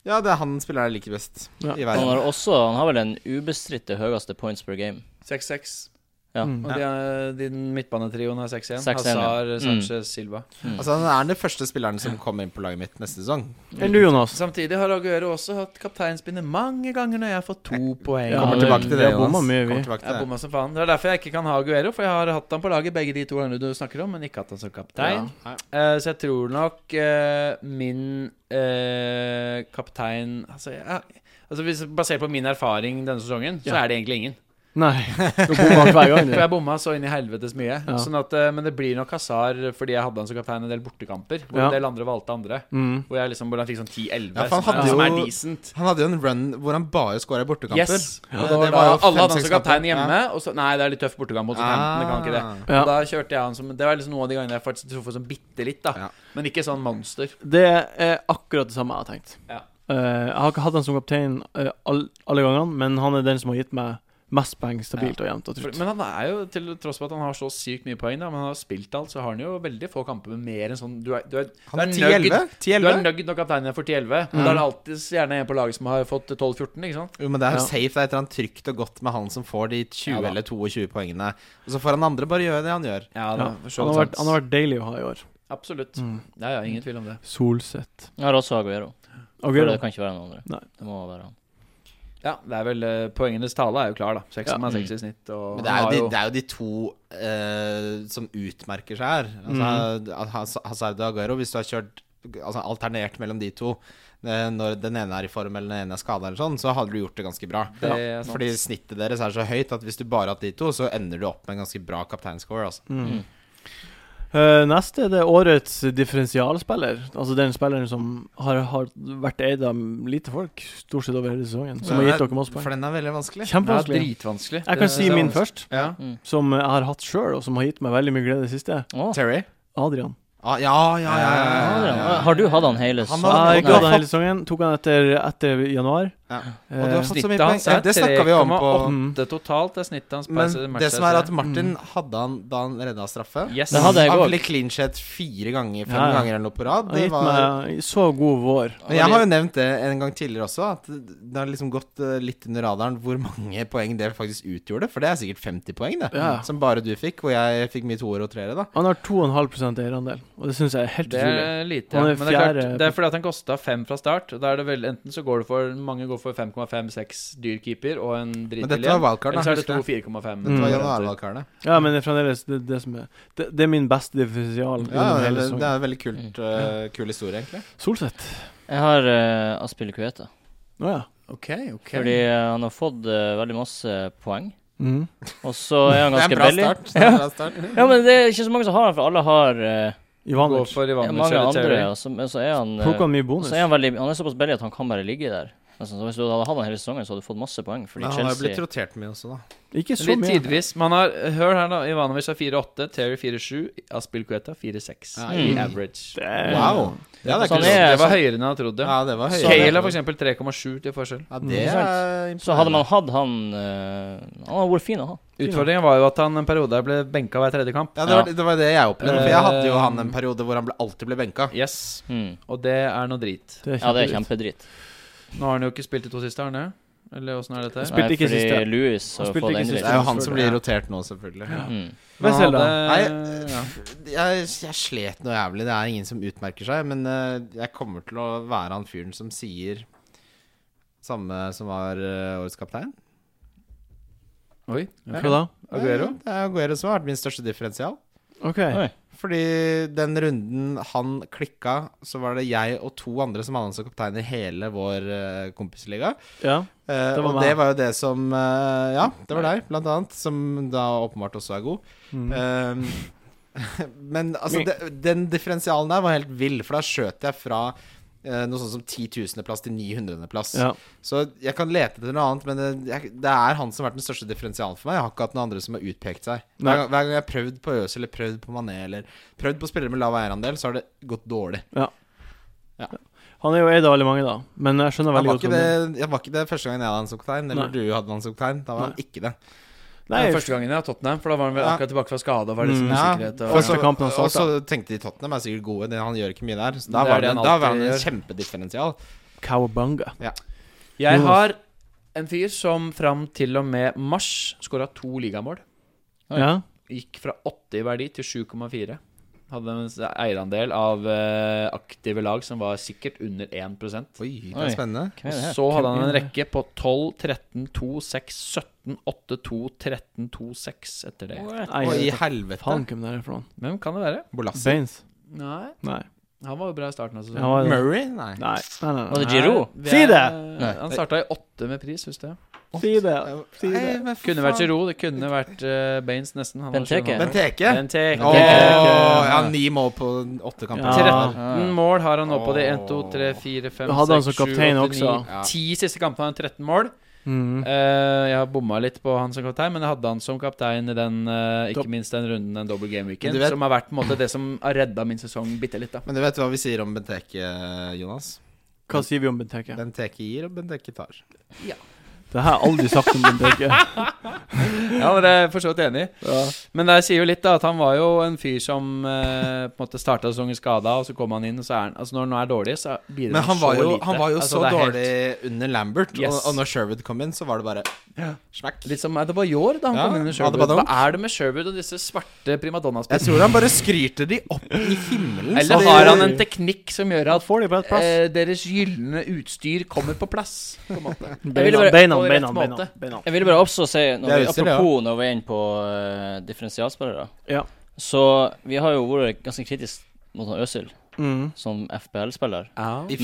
Ja, det er han spilleren jeg liker best
Ja.
i
Han har
verden.
også Han har vel den ubestridte høyeste points per game.
6-6.
Ja.
Mm.
Og de er, din midtbanetrioen er 6-1.
6-1, ja.
Hazar,
Mm.
Sanchez, Silva.
Altså, han er den første spilleren som kommer inn på laget mitt neste sesong.
Enn du, Jonas?
Samtidig har Aguero også hatt kapteinspinnet mange ganger når jeg har fått to poeng.
Ja,
Kommer
men
tilbake
vi
til det,
har bomma
Jonas.
mye, vi.
Kommer tilbake
Jeg
til det.
bomma som faen. Det er derfor jeg ikke kan ha Aguero, for jeg har hatt han på laget begge de to gangene du snakker om, men ikke hatt han som kaptein.
Ja.
Eh, så jeg tror nok eh, min eh, kaptein Altså, jeg, altså hvis, basert på min erfaring denne sesongen, så
Ja.
er det egentlig ingen. [LAUGHS]
Nei. Du bommer hver gang,
For
du.
jeg bomma så inn i helvetes mye.
Ja.
Sånn at, eh, men det blir nok Hazar fordi jeg hadde han som kaptein en del bortekamper, hvor
Ja.
en del andre valgte andre.
Mm.
Hvor jeg liksom, hvor han fikk sånn 10-11,
Ja, for han
som, er-
hadde
som er
jo-
decent.
Han hadde jo en run hvor han bare skåra bortekamper.
Yes.
Ja.
Og da var
Det var jo
da alle hadde han
fem-seks
som kaptein
kamper.
hjemme. Og så, nei, det er litt tøff bortekamp mot Southampton. det kan ikke det.
Ah.
Ja.
Og da kjørte jeg han som Det var liksom noen av de gangene jeg faktisk truffet som bitte litt, da.
Ja.
Men ikke sånn monster.
Det er akkurat det samme jeg har tenkt.
Ja.
Eh, jeg har ikke hatt han som kaptein eh, all, alle gangene, men han er den som har gitt meg mest poeng stabilt og jevnt og
For,
trutt.
men han er jo, til tross for at han har så sykt mye poeng, da, men han har spilt alt, så har han jo veldig få kamper med mer enn sånn Du er, du er, du
Han
er
er
nugget-
10-11.
Du er
10-11?
nugget når kapteinen er for 10-11. Men Da er det alltid gjerne en på laget som har fått 12-14, ikke sant?
Jo, men det er
Ja.
jo safe. Det er et eller annet trygt og godt med han som får de 20
Ja da.
eller 22 poengene. Og så får han andre bare gjøre det han gjør.
Ja,
Ja. Han har, vært, han har vært deilig å ha i år.
Absolutt. Ja, ja, ingen tvil om det.
Solseth.
Jeg har også Aguero. For
Aguero.
det kan ikke være noen andre.
Nei.
Det må være han.
Ja, det er vel eh, Poengenes tale er jo klar, da. 6,6
Mm.
i snitt. Og
Men det
han
er jo
har
de, det er jo de to eh, som utmerker seg her.
Mhm.
Altså, Haz- Hazard og Aguero, hvis du har kjørt altså, alternert mellom de to eh, når den ene er i form eller den ene er skada, eller sånn, så hadde du gjort det ganske bra.
Det er sant.
Fordi snittet deres er så høyt at hvis du bare har hatt de to, så ender du opp med en ganske bra kapteinscore. Altså.
Mm.
Mm.
Eh, neste er det årets differensialspiller. Altså den spilleren som har, har vært eid av lite folk stort sett over hele sesongen. Som har gitt dere masse
For
poeng.
den er veldig vanskelig.
Det er
Kjempevanskelig.
dritvanskelig.
Jeg kan si
sånn-
min først,
Ja.
som jeg har hatt sjøl, og som har gitt meg veldig mye glede i det siste.
Å,
Terry?
Adrian.
Ah, ja, ja, ja, ja, ja, ja.
Adrian. Har du hatt han hele
Han
Jeg
har-
har ikke hatt han hele sesongen. Tok han etter, etter januar.
Ja. Og du har
Eh, mm.
fått så mye
Snittet
poeng.
hans
Ja,
er
det snakka vi om på
3,8 totalt. Det er snittet hans
Men
per match,
det som er
jeg
at
ser.
Martin hadde han da han redda straffe.
Yes.
Det hadde jeg
han
også.
fikk clean shit fire ganger, fem
Ja, ja.
ganger eller noe på rad.
Han har
Det
gitt
var
meg så god vår.
Men jeg har jo nevnt det en gang tidligere også, at det har liksom gått eh, litt under radaren hvor mange [LAUGHS] poeng det faktisk utgjorde. For det er sikkert 50 poeng, det.
Ja.
Som bare du fikk, og jeg fikk mye toer og treere, da.
Han har 2,5 eierandel, og det syns jeg er helt
Det
utrolig.
er lite,
Han
ja.
er
Men det er,
fjerde
klart, det er fordi at han kosta fem fra start. Da er det vel, enten så går det for Mange går for 5,5-6 dyr keeper og en
Men
dritbillig
dette var
en.
wildcard, da.
Eller så er det
husker
to
jeg.
4,5.
Dette var
Mm.
januarvalgkarene.
Ja, men det er fremdeles det, det som er Det, det er min beste differensial.
Ja,
gjennom hele
det, det
sesongen.
er en veldig kult,
Mm.
eh, kul historie, egentlig.
Solseth.
Jeg har uh, Aspille Kueta.
Å ja.
Ok, ok
Fordi eh, han har fått eh, veldig masse poeng.
Mhm.
Og så er han
Det er en
ganske
bra
billig.
start. Det er en bra start.
Ja, men det er ikke så mange som har han, for alle har eh,
Gå
Ivanovic.
for Ivanovic
mange
eller
andre.
Terry.
Og så, men så er han eh,
Tok han mye
så
bonus?
er han, veldig, han er såpass billig at han kan bare ligge der. Nesten. Så hvis du hadde hatt han hele sesongen, så hadde du fått masse poeng. Fordi
Men han har jo blitt
Chelsea
rotert mye også, da.
Ikke så
Litt
mye.
tidvis. Man har, hør her, da. Ivanovic er 4,8, Terry 4,7, Aspil Kueta 4,6
Ja,
i
mm.
average.
Det er-
Wow. Ja, det Sånn er Sånn
Så han
kult.
er-
Det var høyere enn jeg trodde.
Ja, det var høyere.
Kale er for eksempel 3,7 til forskjell.
Ja, det
Mm.
er
Så hadde man hatt han eh, Han hadde vært fin å ha.
Utfordringen var jo at han en periode ble benka hver tredje kamp.
Ja, det var, det var det jeg opplevde. For jeg hadde jo
Eh,
han en periode hvor han ble, alltid ble benka.
Yes,
Mm.
og det er noe drit.
Det er
Ja, det er
kjempedritt.
kjempedrit.
Nå har han jo ikke spilt de to siste, har han det? Eller åssen er dette?
Spilte
Nei,
ikke
Eh, fordi
siste.
Lewis
Han
har
spilte
fått
ikke
Det
siste.
er jo han
Ja.
som blir rotert nå, selvfølgelig.
Mm.
Men han
Wessel, da?
hadde- ja.
jeg, jeg slet noe jævlig. Det er ingen som utmerker seg. Men eh, jeg kommer til å være han fyren som sier samme som var eh, årets kaptein.
Oi.
Hva da?
Aguero?
Det er Aguero som har vært min største differensial.
OK.
Oi.
Fordi den runden han klikka, så var det jeg og to andre som hadde han som kaptein i hele vår eh, kompisliga.
Ja.
Eh,
Det var
og
meg.
det var jo det som eh, Ja, det var deg, blant annet, som da åpenbart også er god.
Mm.
Ehm, [LAUGHS] men altså, det, den differensialen der var helt vill, for da skjøt jeg fra eh, noe sånt som 10.000.-plass til 900.-plass.
ja.
Så jeg kan lete etter noe annet, men det, jeg, det er han som har vært den største differensialen for meg. Jeg har ikke hatt noen andre som har utpekt seg.
Nei.
Hver, gang- hver gang jeg har prøvd på Øs eller prøvd på Mané eller prøvd på spillere med lav eierandel, så har det gått dårlig.
Han er jo eid av veldig mange, da. Men jeg skjønner
Jeg
veldig
var,
godt
ikke
hvem det er.
det, jeg var ikke det første gangen jeg hadde han som kaptein, eller
Nei.
du hadde han som kaptein. Da var han ikke det.
Nei,
Den første gangen jeg har Tottenham, for da var han vel
Ja.
akkurat tilbake fra skade. og var liksom
Mm.
Ja,
usikkerhet og,
Første kampen han
og
starta.
så tenkte de Tottenham er sikkert gode, det- han gjør ikke mye der. Så da
Det er
var
det
det,
han
da var han
alltid
en
gjør.
kjempedifferensial.
Cowabunga.
Jeg
Jonas.
har en fyr som fram til og med mars skåra to ligamål.
Oi.
Ja.
Gikk fra 8 i verdi til 7,4. Hadde en s- eierandel av eh, aktive lag som var sikkert under 1 Og
Oi, det
Oi.
er spennende.
Hvem er det her?
Så hadde han en
Hvem er
rekke på 12, 13, 2, 6, 17, 8, 2, 13, 2, 6 etter det.
Nei,
Og
jeg
i
vet da
helvete.
faen hvem det er fra.
Hvem kan det være?
Bolassi.
Baines?
Nei,
Nei.
han var jo bra i starten av
Han var-
Murray? Nei.
Nei. Nei, nei,
Var
nei.
det Giroud?
Nei, vi
Si
er-
det!
Nei.
Han starta i åtte med pris, husker jeg.
Si det. Si
Nei,
det.
men
Kunne
faen.
vært Giroud, det kunne vært eh, Baines nesten. Han var
Benteke.
skjønn, han.
Benteke?
Benteke.
Åh, ja, ni mål på åtte kamper.
Ja.
13 mål har han nå på de
Åh.
1, 2, 3, 4, 5,
Hadde
6, 7, 8, 9
han
altså
som kaptein også.
Ja.
10 siste kampene har han 13 mål.
Mhm.
Eh, jeg har bomma litt på han som kaptein, men jeg hadde han som kaptein i den eh, ikke
Dob-
minst den runden, den double game
Men
weekend,
du vet-
som har vært på en måte det som har redda min sesong bitte litt, da.
Men du vet hva vi sier om Benteke, Jonas?
Hva sier vi om Benteke?
Benteke gir, og Benteke tar.
Det har jeg aldri sagt om Benteke.
Ja, dere er for så vidt enig. Men det sier jo litt, da, at han var jo en fyr som eh, på en måte starta sesongen skada, og så kom han inn, og så er han Altså, når han er dårlig, så bidrar
Men han var
så
jo,
lite.
han var jo
Altså,
så
det er helt-
dårlig under Lambert, og,
Yes.
og når Sherwood kom inn, så var det bare smekk.
Litt som Adebayor da han
Ja,
kom inn i Sherwood.
Adebayor.
Hva er det med Sherwood og disse svarte
Jeg
primadonna-spillerne?
tror Altså, han bare skryter de opp i himmelen. så
Eller
de-
har han en teknikk som gjør
Han
at
får det på rett plass.
eh, deres gylne utstyr kommer på plass? På en måte.
Beina,
bare-
beina,
på rett
beina,
måte.
beina, beina.
Jeg ville bare også si,
Det
når
er
vi,
utstyr, det, ja.
apropos når vi er inne på eh, differensialspillere
Ja.
Så vi har jo vært ganske kritisk mot han Øsil
Mhm.
som FPL-spiller.
I fjor, ja,
Men,
i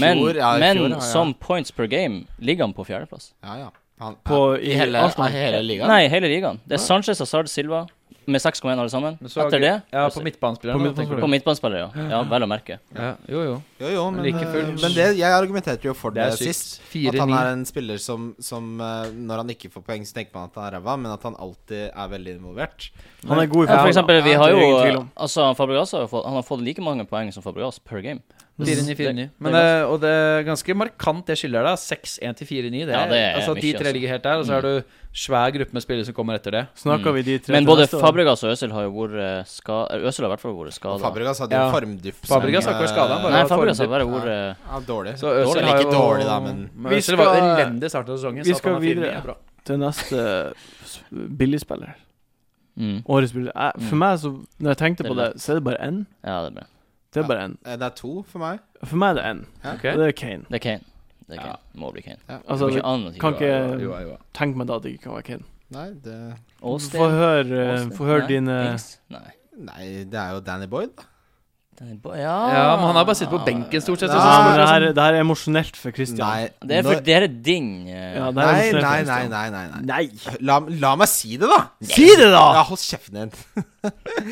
men
fjor, ja, ja.
som points per game ligger han på fjerdeplass.
Ja, ja. Han,
På-
ja,
i
i hele,
Arsenal.
i hele ligaen?
Nei, hele ligaen. Det er Sanchez, Hazard, Silva, med 6,1 alle sammen.
Men så-
Etter det
Ja,
så-
på midtbanespilleren.
På
da, tenker du.
på midtbanespillere, ja. ja. Vel å merke.
Ja, jo, jo.
Jo, jo, men,
Men like fullt.
eh, men det, jeg argumenterte jo for
Det
det,
er sykt.
sist. At han
4-9.
er en spiller som, som eh, når han ikke får poeng, så tenker man at han er ræva, men at han alltid er veldig involvert.
Han er god i
Ja, for
fotball.
eksempel, vi
Ja,
har
det er
jo
ingen tvil om.
Altså, Fabregas har jo fått, han har fått like mange poeng som Fabregas per game.
4-9, 4-9.
Det-
Men,
det er
eh, og det er ganske markant, det skillet der. da. 6-1 til 4-9. Det,
Ja,
er-
det er
altså,
mye,
de tre
altså.
ligger helt der, og så er du svær gruppe med spillere som kommer etter det.
Snakker vi de tre
Men
til
både
neste år?
Fabregas og Øzil har jo vært eh, skada Øzil har i hvert fall vært
Og
skada.
Fabregas hadde jo
Ja.
formdupp. som,
Fabregas har ikke vært skadet, han bare
Nei,
har
Fabregas har
form-
bare vært
Ja, dårlig.
Så Øzil
dårlig.
har jo
Ikke dårlig, da, men
Vi
Øzil var jo
skal-
elendig start av
Vi
sesongen. så at han
skal
har 4-9
videre.
er bra.
til neste s- billigspiller.
mm.
Årets billig. Jeg- For
Mm.
meg, så når jeg tenkte
Det er
på det, så er det bare én.
Ja, det er bra.
Det er bare én.
eh, det er to for meg.
For meg er det én,
Ok.
og det er Kane.
Det er Kane. Det
Ja.
er Kane. Må bli Kane.
Altså,
det
vi
er ikke annet å
kan
gjøre.
ikke
Jo, jo, jo.
tenke meg da at det ikke kan være Kane.
Nei, det,
Austin.
Få høre, eh,
Austin.
få høre
Nei,
dine
Ings. Nei.
nei, det er jo Danny Boyd. da.
Den er bo- Ja.
Ja, men han har bare sittet på benken stort sett.
Jeg
Så,
synes
Nei.
det,
sånn
her, det her er sånn- emosjonelt for Christian.
Det er
nå-
for dere ding. eh.
Ja, det her
nei,
er emosjonelt for
nei, nei,
Christian.
nei, nei, nei.
Nei.
La, la meg si det, da!
Si det, da!
Ja, hold kjeften din.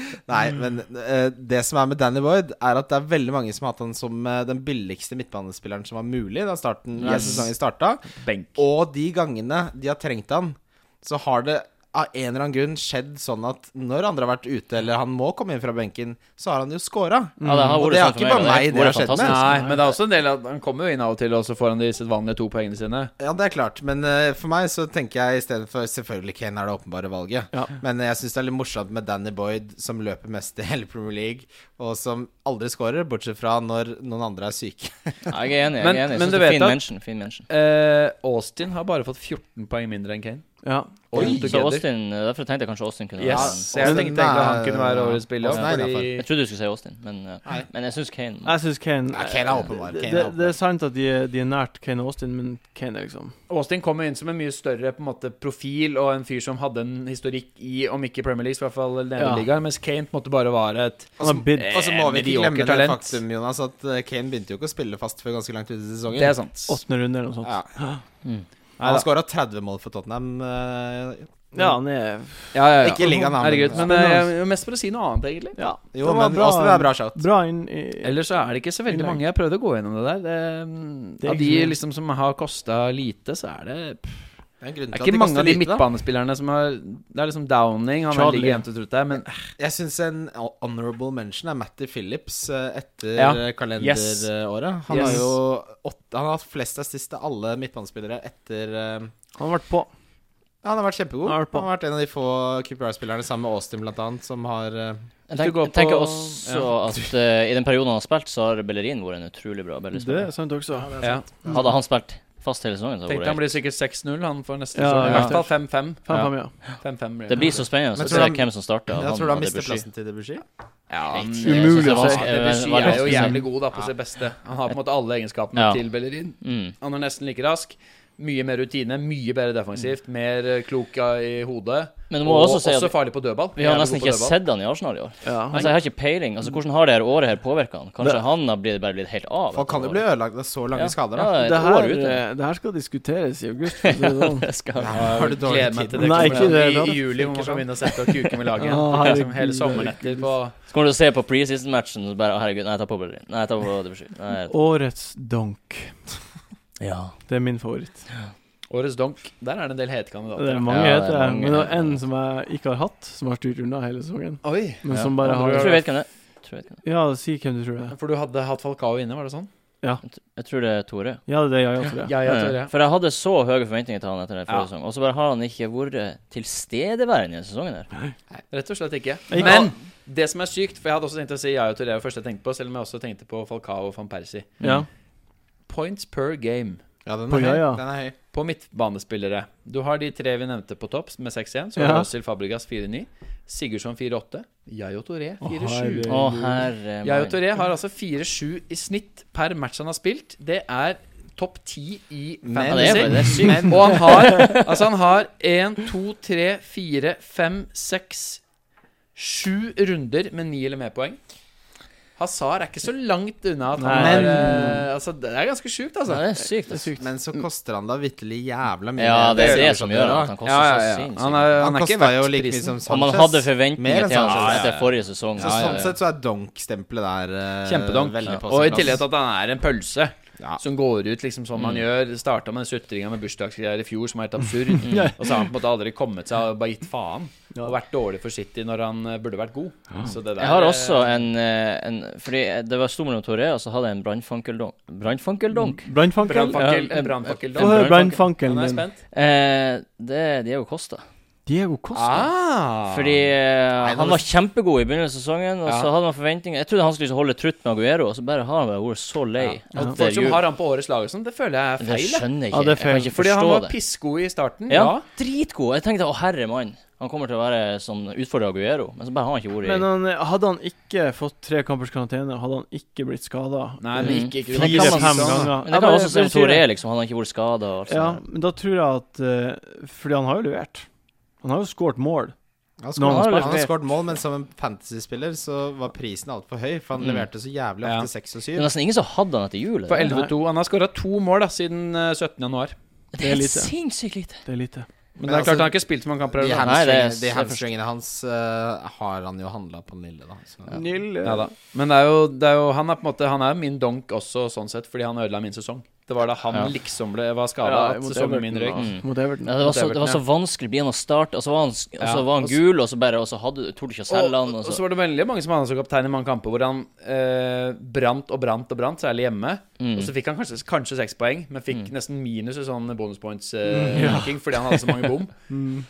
[LAUGHS] Nei, men eh, det som er med Danny Boyd, er at det er veldig mange som har hatt han som eh, den billigste midtbanespilleren som var mulig da starten, da sesongen starta.
benk.
Og de gangene de har trengt han, så har det av en eller annen grunn skjedd sånn at når andre har vært ute, eller han må komme inn fra benken, så har han jo scora.
Ja, det har
Mm. Og
vært
det er
sånn for
ikke
meg,
bare
og har
meg det har
vært
skjedd med.
fantastisk.
Nei, men det er også en del av Han kommer jo inn av og til, og så får han de sitt vanlige to poengene sine.
Ja, det er klart, men eh, for meg så tenker jeg istedenfor Selvfølgelig Kane er det åpenbare valget,
Ja.
men eh, jeg syns det er litt morsomt med Danny Boyd, som løper mest i [LAUGHS] hele Premier League, og som aldri scorer, bortsett fra når noen andre er syke.
Ja, Jeg er enig. jeg
Men-
er enig. Jeg
men
synes
du
det er
vet
fin
at-
mention, fin mention.
Eh, Austin har bare fått 14 poeng mindre enn Kane.
Ja.
All
Så
together.
Austin, eh, Derfor tenkte jeg kanskje Austin kunne være
Yes.
Ja,
Jeg
Austin
tenkte egentlig han
er-
kunne være årets spiller.
Austin er
Fordi
Jeg trodde du skulle si Austin, men, eh, men jeg syns Kane
Jeg syns Kane
Ja, Kane er åpenbar.
det, det,
Kane er
det
åpenbar.
er sant at de er, de er nært Kane og Austin, men Kane er liksom
Austin kom jo inn som en mye større på en måte, profil og en fyr som hadde en historikk i, om ikke Premier League, så i hvert fall
Ja.
nederligaen, mens Kane på en måte bare var et
Han
Altså,
har bidd.
Og så må vi ikke
mediocre
glemme det
talent.
faktum, Jonas, at eh, Kane begynte jo ikke å spille fast før ganske langt ut i sesongen.
Det er sant.
Åttende runde eller noe sånt.
Ja.
Mm.
Han skåra 30 mål for Tottenham. eh,
Ja, han er
Ja, ja, ja.
Ikke i ligaen, da, men-
Herregud. Men
Ja.
eh, jeg- jeg er mest for å si noe annet, egentlig.
Ja.
jo,
det var
men også det er bra shout.
Bra inn i
Ellers så er det ikke så veldig mange. Jeg prøvde å gå gjennom det der. Det, mm,
Det er
av
ikke
de
så mye.
liksom, som har kosta lite, så er det pff,
Det er en grunn
Det er
til at
ikke
de
mange
koster
av de
lite, da.
midtbanespillerne som har Det er liksom Downing. Han
Charlie.
ligger jevnt og trutt der, men
Jeg syns en honorable mention er Matty Phillips eh, etter
Ja.
eh,
Yes.
kalenderåret. Han,
Yes.
har jo åtte, han har hatt flest assist av alle midtbanespillere etter eh,
Han har vært på.
ja, Han har vært
Han
kjempegod. Han
har vært på.
har vært en av de få QPR-spillerne sammen med Austin, blant annet, som har eh,
Hvis du
Jeg, tenk,
går
jeg tenker
på-
også at eh, i den perioden han har spilt, så har Bellerin vært en utrolig bra
Det er
Bellerin-spiller.
sant også.
ja.
Hadde han spilt fast hele sesongen, så
Tenkte
hadde
han
det
blir sikkert 6-0 han for neste
Ja,
sesong. I
ja.
hvert fall 5-5.
5-5, ja.
Ja, 5-5
Det blir så
Men
spennende å
tror du
se
han-
hvem som starter.
Jeg tror du han mister plassen til Debussy.
Ja, han-
Umulig
Jeg synes det er
å si.
vanskelig-
Ja, Debussy er jo
veldig vanskelig å si.
jævlig god da på sitt beste. Han har på en måte alle egenskapene
Ja.
til Bellerin.
Mm.
Han er nesten like rask. Mye mer rutine, mye bedre defensivt, mer eh, klok i hodet.
Mm. Men du må
Og
også si
også
at
farlig på dødball.
vi har
Jævlig
nesten
god på
ikke
dødball.
sett han i Arsenal i år.
ja.
Altså, Jeg har ikke peiling. Altså, Hvordan har det her året her påvirka han? Kanskje
Det-
han har blitt, bare blitt helt av?
Folk kan jo bli ødelagt av så lange skader, da.
Ja, et
Det her,
år ute.
eh, det her skal diskuteres i august. For å si det sånn.
[LAUGHS]
[LAUGHS] Det skal han.
Har du dårlig
Gleder meg
tid?
til det
Nei,
kommer
ikke
i-
det, da.
i juli, hvor man kan begynne å sette og
[LAUGHS]
kuke med laget.
Å,
liksom, hele
herregud.
sommernetter på
Så kommer du til å se på preseason-matchen og bare Å, herregud, nei, jeg tar på Bellerin. Nei, jeg tar på Debussy. Nei, jeg-
Årets donk.
Ja.
Det er min favoritt.
Årets donk. Der er det en del hete
Det er
kandidater.
mange,
Ja, det er
heter det. Men
mange.
det var en som jeg ikke har hatt, som har styrt unna hele sesongen.
Oi.
Men
Ja.
som bare
Jeg tror
har
jeg vet hvem det er. Jeg tror jeg vet hvem det
Ja, si hvem du tror det er.
For du hadde hatt Falcao inne, var det sånn?
er. Jeg tror det er Tore.
Ja, det er jeg også, tror jeg.
Ja, ja, Tore.
For jeg hadde så høye forventninger til han etter den
Ja.
forrige sesongen, og så bare har han ikke vært tilstedeværende i denne sesongen her.
Rett og slett ikke.
Ikke-
Men det som er sykt, for jeg hadde også tenkt å si Yaya Toré først jeg tenkte på, selv om jeg også tenkte på Falcao og van Persie.
Ja.
Points per game
Ja, den
På
er høy.
Jaja.
Den er høy.
på midtbanespillere. Du har de tre vi nevnte på topp, med 6-1. Så har
Ja.
du Øzil Fabregas 4-9, Sigurdsson 4-8, Yayo Toré 4-7.
herregud.
Å, herre
Yayo
min.
Toré har altså 4-7 i snitt per match han har spilt. Det er topp 10 i
Men-
Ja, det er,
fantasy.
bare- det er sykt.
Men
Og han har Altså, han har 1, 2, 3, 4, 5, 6 Sju runder med ni eller mer poeng. Hazard er ikke så langt unna at han
Nei.
er eh, Altså, det er ganske sjukt, altså.
Ja, det er sykt. ass.
Men så koster han da vitterlig jævla mye.
Ja, det er det som gjør
da.
at han koster
Ja, ja, ja.
så sinnssykt.
Han, er, han,
Han
er ikke
kosta jo
verdt
like mye
prisen.
som Sanchez.
Og man hadde
Mer
forventninger
enn sånn-
til han
Sanchez.
etter forrige sesong.
Så
Ja, ja,
Sånn
ja.
sett så er Donk-stempelet der eh,
Kjempedonk.
veldig på
Og i
sin plass.
tillegg til at han er en pølse
Ja.
som går ut liksom som han gjør. Starta med den sutringa med bursdagsgreier i fjor som er helt absurd. Og så har han på en måte aldri kommet seg og bare gitt faen. Og vært dårlig for City når han eh, burde vært god. Så det der,
Jeg har
eh,
også en, eh, en Fordi det var stor mellom Toré, og så hadde jeg en brannfankeldonk. Brannfankeldonk?
Brannfankel?
Brannfakkel.
Ja,
en Brannfakkel.
Få høre
Nå
brannfankelen
er
din.
jeg spent.
Eh, det er Diego Costa.
Diego Costa.
Ah.
Fordi eh,
nå-
han var kjempegod i begynnelsen av sesongen, og
Ja.
så hadde man forventninger. Jeg trodde han skulle holde trutt med Aguero, og så bare har han bare vært så lei.
Ja.
at
Og folk
det
som
gjør-
har han på årets lag og sånn, det føler jeg er
det
feil. jeg.
skjønner jeg
Ja,
ikke.
det er
jeg kan
feil.
ikke
Fordi
forstå
han var
det.
pissgod i starten.
Ja,
Ja.
dritgod. Jeg tenkte å herre mann, han kommer til å være sånn utfordrer Aguero, men så bare har han ikke vært i
Men eh, han, hadde han ikke fått tre kampers karantene, hadde han ikke blitt Eh, skada
Nei, men ikke, ikke,
Men Mm. kan man
fire-fem
si sånn?
ganger
Men det kan også se om Toré, liksom. Han har ikke vært skada.
Ja, men da tror jeg at eh, Fordi han har jo levert. Han har jo skåret mål.
Han
Nå
har
skåret-
han
han har
levert.
skåret mål, men som en fantasyspiller så var prisen altfor høy, for han
Mm.
leverte så jævlig
Ja.
ofte seks og
Det er
syv.
nesten ingen som hadde han etter jul.
På
eller?
11-2. Han har skåra to mål da, siden eh, 17. januar.
Det er lite.
sinnssykt lite.
Det er lite.
Men,
Men
det er
altså,
klart han har ikke spilt så mange kamper.
De
eller noe.
Nei, det er-
hamstringene- de hamstringene hans eh, har han jo handla på den lille, da. Så.
Nil, eh,
Ja da. Men det er, jo, det er jo Han er på en måte Han er jo min donk også, sånn sett, fordi han ødela min sesong. Det var da han
Ja.
liksom ble, var skada,
Ja,
at
mot
sesongen min
Everton,
røyk.
da. Mot Everton.
Ja, det, var så,
Mot
det var så
Everton,
vanskelig å bli han å starte, og så var han, og så
Ja,
var han
og så-
gul, og så bare Og så hadde torde ikke å selge
Og,
han.
og
Og
så
så,
var det veldig mange som hadde han som kaptein i mange kamper hvor han eh, brant og brant og brant, særlig hjemme.
Mm.
Og så fikk han kanskje, kanskje seks poeng, men fikk nesten minus i sånn bonus
Mm,
points-ranking fordi han hadde så mange bom.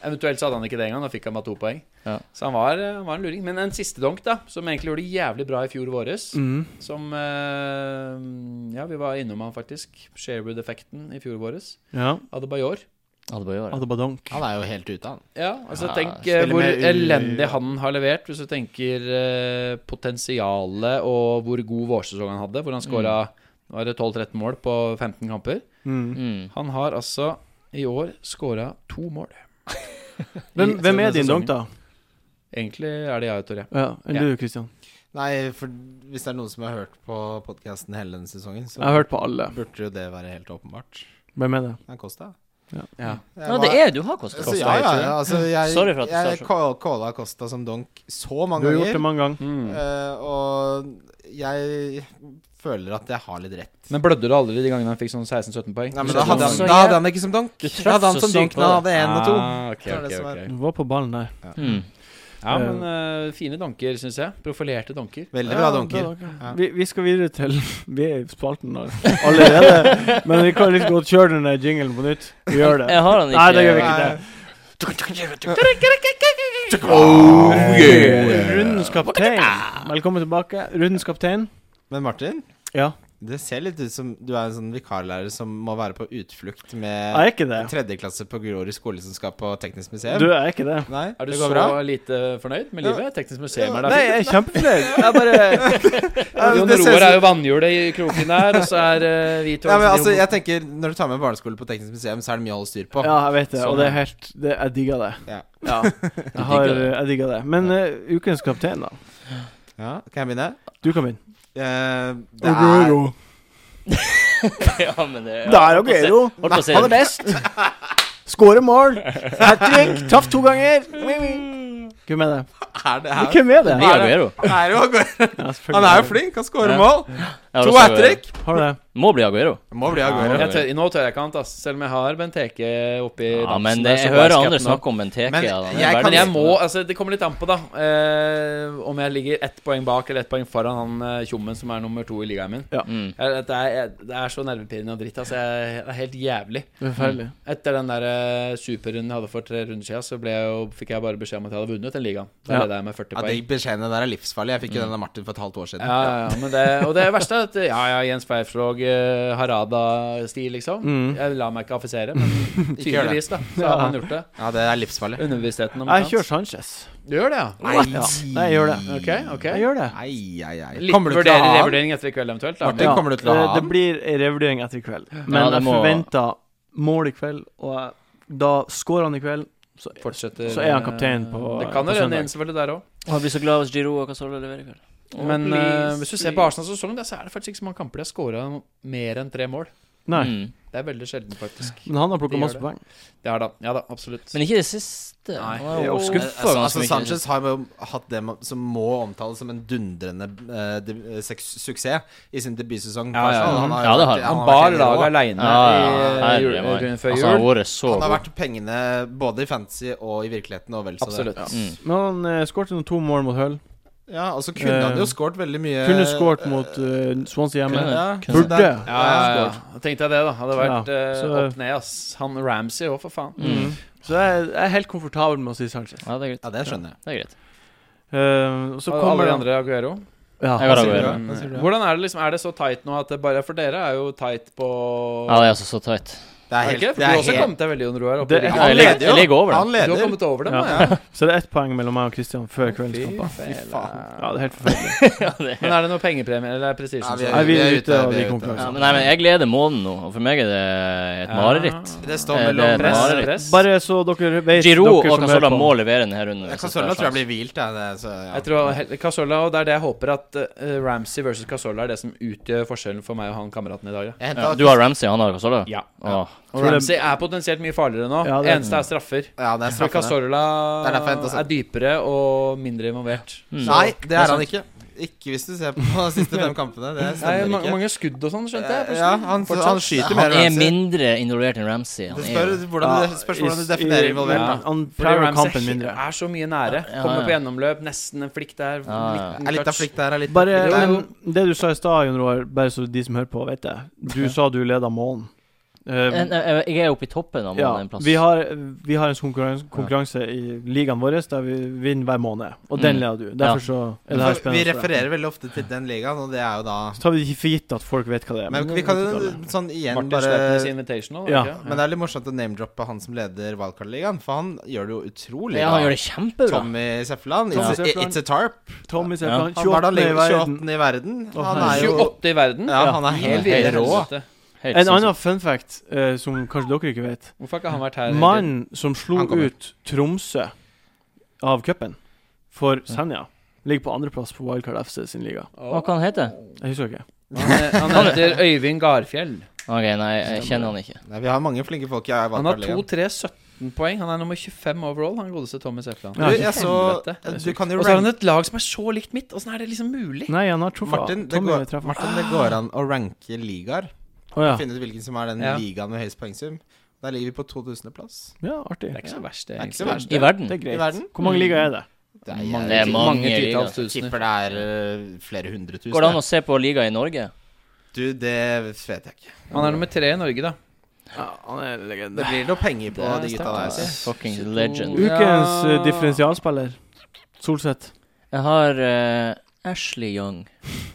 Eventuelt så hadde han ikke det engang, da fikk han bare to poeng.
Ja.
Så han var, eh, han var en luring. Men en siste donk, da, som egentlig gjorde det jævlig bra i fjor våres,
Mm.
som eh, Ja, vi var innom han faktisk. Sherwood-effekten i fjor våres.
Ja.
Adebayor.
hadde bare gjort det.
Adebadank.
Han er jo helt ute, han.
Ja, altså
Ja,
tenk eh,
spiller
hvor
med U-
elendig han har levert, hvis du tenker eh, potensialet og hvor god vårsesong han hadde,
Mm.
hvor han skåra 12-13 mål på 15 kamper.
Mm.
Mm.
Han har altså i år skåra to mål.
[LAUGHS] Hvem, hvem
I- denne
er din
sesongen.
donk, da?
Egentlig er det jeg og Torje.
Ja, Enn
Ja.
du, Christian?
Nei, for hvis det er noen som har hørt på podkasten hele denne sesongen, så
Jeg har hørt på alle.
burde jo det være helt åpenbart.
Hvem er det?
Det er Costa.
Ja.
Jeg
Ja, det
var-
er du har kosta.
Så, ja, ja, ja, altså, jeg,
Sorry for at du sa
jeg
så.
call- calla Costa som donk så
Du
mange
har gjort det
ganger.
mange ganger.
Mm.
eh, og jeg føler at jeg har litt rett.
Men blødde du aldri de gangene han fikk sånn 16-17 poeng?
Nei, men
du
da hadde,
traff
han,
så
da
jæv-
hadde han ikke som donk.
Du traff
Da hadde han
så
som
sykt
donk
på
når han hadde én og to.
Ah, ok,
Det er det
ok,
som er-
ok.
Du var på ballen der.
Mm.
Ja, men eh, fine donker, syns jeg. Profilerte donker.
Veldig bra
Ja,
donker. Ja.
Vi, vi skal videre til [LAUGHS] Vi er i spalten der allerede, men vi kan liksom godt kjøre den der jinglen på nytt. Vi gjør det.
Jeg har han ikke.
Nei, det gjør vi ikke.
Nei.
det. Oh, Rundens kaptein. Velkommen tilbake. Rundens kaptein.
Men Martin,
Ja.
det ser litt ut som du er en sånn vikarlærer som må være på utflukt
Jeg
med
er ikke det.
tredjeklasse på Grorud skole som skal på teknisk museum.
Du jeg er ikke det.
Nei,
Er du
det
så
går bra.
lite fornøyd med livet? Teknisk museum er der.
Nei, jeg er kjempefornøyd.
Jeg [LAUGHS] bare
Ja,
Jon
det ser
Roar
ut-
er jo vannhjulet i kroken der, og så er eh, vi to
Ja, men
liksom
altså,
de-
jeg tenker Når du tar med barneskole på teknisk museum, så er det mye å holde styr på.
Ja, jeg vet det, og det er helt det, Jeg digger det.
Ja.
Sånn. Ja. Jeg, har, jeg digger det. Men eh, ukens kaptein, da?
Ja, Kan jeg begynne?
Du kan vinne.
Eh, det er
Aguero.
[LAUGHS] ja, men det
Det er Aguero.
Holdt på å si
Han er best. Skårer mål. Hat trick. Traff to ganger. Hvem er det?
[LAUGHS] Er det her?
Hvem er det?
Nei, Aguero.
Er det Aguero?
Ja, selvfølgelig.
Han er jo flink, han scorer
Ja.
mål.
Jeg har
To
også
hat trick.
Har du det?
Aguero. Må bli Aguero.
Må bli Aguero.
jeg tør, Nå tør jeg ikke annet, ass. Selv om jeg har Benteke oppi
Ja,
bamsen
men
der,
det,
så
jeg
bare
hører
skal
andre
den opp.
snakke om Benteke.
Men
ja, da. Det er
jeg
bare
Men jeg
litt-
må Altså, det kommer litt an på, da. eh, om jeg ligger ett poeng bak eller ett poeng foran han eh, tjommen som er nummer to i ligaen min.
mm.
Jeg, det, er, jeg, det er så nervepirrende og dritt. Altså, jeg, det er helt jævlig.
Forferdelig.
Etter den der eh, superrunden jeg hadde for tre runder siden, så ble jeg jo, fikk jeg bare beskjed om at jeg hadde vunnet den ligaen. Da
Ja.
ledet jeg med 40
Ja,
poeng.
de beskjedene der er livsfarlige. Jeg fikk jo den av Martin for et halvt år siden.
Ja, ja, ja men det, og det verste er at Ja, ja, Jens Beifrog, eh, Harada-stil, liksom.
Mm.
Jeg lar meg ikke affisere, men
Ikke gjør det.
tydeligvis, da. Så har han gjort det.
Ja, det er livsfarlig.
Underbevisstheten om
Jeg kjører Sanchez.
Du gjør det, ja?
Nei,
Ja. Nei, jeg gjør det.
Ok, ok.
Jeg gjør det.
Nei, nei, nei.
Litt
Kommer du til å
vurderer
ha han?
revurdering etter i kveld, eventuelt. Da.
Martin,
Men-
kommer du til å
det,
ha han?
Det blir ei revurdering etter i kveld. Men
Ja, det
jeg
må-
forventer mål i kveld, og jeg- da scorer han i kveld. Så
Fortsetter
Så er han kaptein på-
Det kan
på
jo renne
søndag.
inn, selvfølgelig, der òg.
Han blir så glad hvis Giro og Casola leverer i kveld.
Men
please,
eh, hvis du ser på Arsenals sesong, da, så er det faktisk ikke så mange kamper de har skåra mer enn tre mål.
Nei.
Mm.
Det er veldig sjelden, faktisk.
Men han har
De
plukka
gjør
masse
det.
poeng.
Det er da, ja da, absolutt.
Men ikke det siste.
Nei.
Han er
Jo.
jo skuffa
Altså, altså
ganske mye.
Sanchez har jo hatt det man- som må omtales som en dundrende eh, de- eh, seks- suksess i sin debutsesong.
Ja, ja,
Arsenal. har jo
ja,
vært-
det har han.
har
Han
vært
bar
helt rå.
laget aleine
Ja, ja,
i,
herre
jul-
mann.
rundt
Altså,
før
han
jul.
har vært så
Han har
god.
vært pengene både i fantasy og i virkeligheten og vel så det.
absolutt.
Mm.
Men han eh, skårte noen to mål mot Hull.
Ja, og så kunne han jo skåret veldig mye
Kunne skåret mot eh, Swansea hjemme.
Kunne.
ja,
Kunne.
så det er-
Burde.
Ja, ja, ja. Tenkte jeg det, da. Hadde vært
Ja,
eh,
så-
opp ned, ass. Han Ramsey òg, for faen.
Mm. Så jeg, jeg er helt komfortabel med å si Sanchez.
Ja, det er greit.
Ja, det skjønner jeg.
Det er greit.
Eh, og så
Og alle
kommer
de andre Aguero.
Ja,
Jeg har
altså,
Aguero.
Ja, hva sier du?
Hvordan er det liksom Er det så tight nå at det bare For dere er jo tight på
Ja, det er altså så tight.
Det er
Er det
helt,
ikke? For
det er
du har også
helt-
kommet deg veldig under roa.
Det-
Du
Ja,
jeg ligger- jeg ligger over det.
Han
har
leder.
kommet over dem,
Ja.
da. Ja.
Så det er ett poeng mellom meg og Christian før kveldens kamper.
Fy
Ja, det
faen.
er helt forferdelig.
Men er det noe pengepremie, eller er det prestisjen?
Ja, vi
som-
Nei, vi er ute av
vi
de
er ute.
Ja,
konkurransene.
men nei, men jeg gleder måneden nå, og for meg er det et mareritt.
Det står
Eh, det
mellom
er
press.
mareritt.
Press.
Bare så dere vet
Giroud og
dere som
Casola
hører på.
må levere denne her runden.
Ja,
hvis det skal
Casola
være
tror jeg blir
sjanse.
hvilt, jeg. det, Så, ja.
Jeg tror he- Casola, og det er det jeg håper at eh, Ramsey versus Casola er det som utgjør forskjellen for meg og han kameraten i dag. Ja.
Jeg hentet-
Ja, du har Ramsey, han har Casola?
Ja.
Åh.
Og
Tror det-
Ramsey er potensielt mye farligere nå.
Ja, det-
Eneste er straffer.
Ja, det er
For
straffene.
Casola
Det er derfor jeg hentet
er dypere og mindre involvert.
Mm.
Nei, det
er
er han
sant.
ikke. Ikke hvis du ser på de siste fem kampene. Det
Det er
stemmer
mange,
ikke.
mange skudd og sånn, skjønte jeg.
Eh,
plutselig.
Ja, han,
Fortsatt.
han skyter mer
Han er
Ramsey.
mindre involvert enn Ramsey. Han
Det
er
spør
jo
hvordan
Ja,
du, spørs hvordan du
i-
definerer involvert,
ja,
da.
Han
Fordi
prøver
Ramsey
kampen mindre.
er så mye nære.
Ja, ja,
Kommer på
ja.
gjennomløp, nesten en flikk der.
Ja, ja.
liten
Er litt av
touch.
flikt der, er litt
Bare
det er-
men, det du sa i stad, Jon Roar, bare så de som hører på, vet det. Du sa du leda månen. Eh,
En- en- Jeg er oppe i toppen av
ja,
måneden en plass.
vi har, vi har en konkurranse, konkurranse i ligaen vår der vi vinner hver måned, og den
Mm.
leder du. Derfor så er det her
For Vi
spennende. for deg.
refererer veldig ofte til den ligaen, og det er jo da
Så tar vi ikke for gitt at folk vet hva det er.
Men vi
det
kan
vet
jo
ikke alle.
sånn igjen
Martin
bare
Sleipnes Invitational.
Ja.
ikke?
Men det er litt morsomt å name-droppe han som leder Wildcard-ligaen, for han gjør det jo utrolig
Ja, han
bra.
gjør det kjempebra.
Tommy Seffland.
Tommy
It's, a-
Seffland.
it's a tarp.
Tommy sier
Ja.
at
Han var da
han er 28 i verden.
28 i verden.
Å,
Han er jo
28 i verden?
Ja, han er helt
Ja, helt
rå.
Helvete.
Helt
En
sinnssykt.
annen fun fact eh, som kanskje dere ikke vet.
Hvorfor har ikke han vært her?
Mannen som slo
Han kommer.
ut Tromsø av cupen for Senja, ligger på andreplass på Wildcard FC sin liga.
Hva kan han hete?
Jeg husker ikke.
Han, er- han heter Øyvind Garfjell.
Ok, nei, jeg kjenner han ikke.
Nei, Vi har mange flinke folk i
Han har
Wildcard-ligaen.
2-3-17 poeng. Han er nummer 25 overall, han godeste Tommy Sefland.
Ja,
Du, jeg så
Helvete.
Du kan jo
Og så har han
ranke
et lag som er så likt mitt. Åssen er det liksom mulig?
Nei, han har truffet.
Martin, det
Tommy
går,
treffer.
Martin, det går an å ranke ligaer.
Å ja.
Finne ut hvilken som er den
Ja.
ligaen med høyest poengsum. Der ligger vi på 2000.-plass
ja, artig.
Det er ikke så verst,
Det
det.
er ikke så
egentlig.
verst.
I verden?
Det er greit.
i verden. Mm.
Hvor mange ligaer er det?
Det
Mange,
Det er mange ligaer.
titalls
Jeg
tusener.
tipper det er øh, flere hundre tusen.
Går det an å se på liga i Norge?
Du, det vet jeg ikke.
Han er nummer tre i Norge, da.
Ja, han er en legende.
Det blir noe penger på de gutta der.
sterkt, altså.
Si.
ass.
Fucking
22.
legend.
Ukens eh,
Ja.
differensialspiller. Solseth.
Jeg har eh, Ashley Young.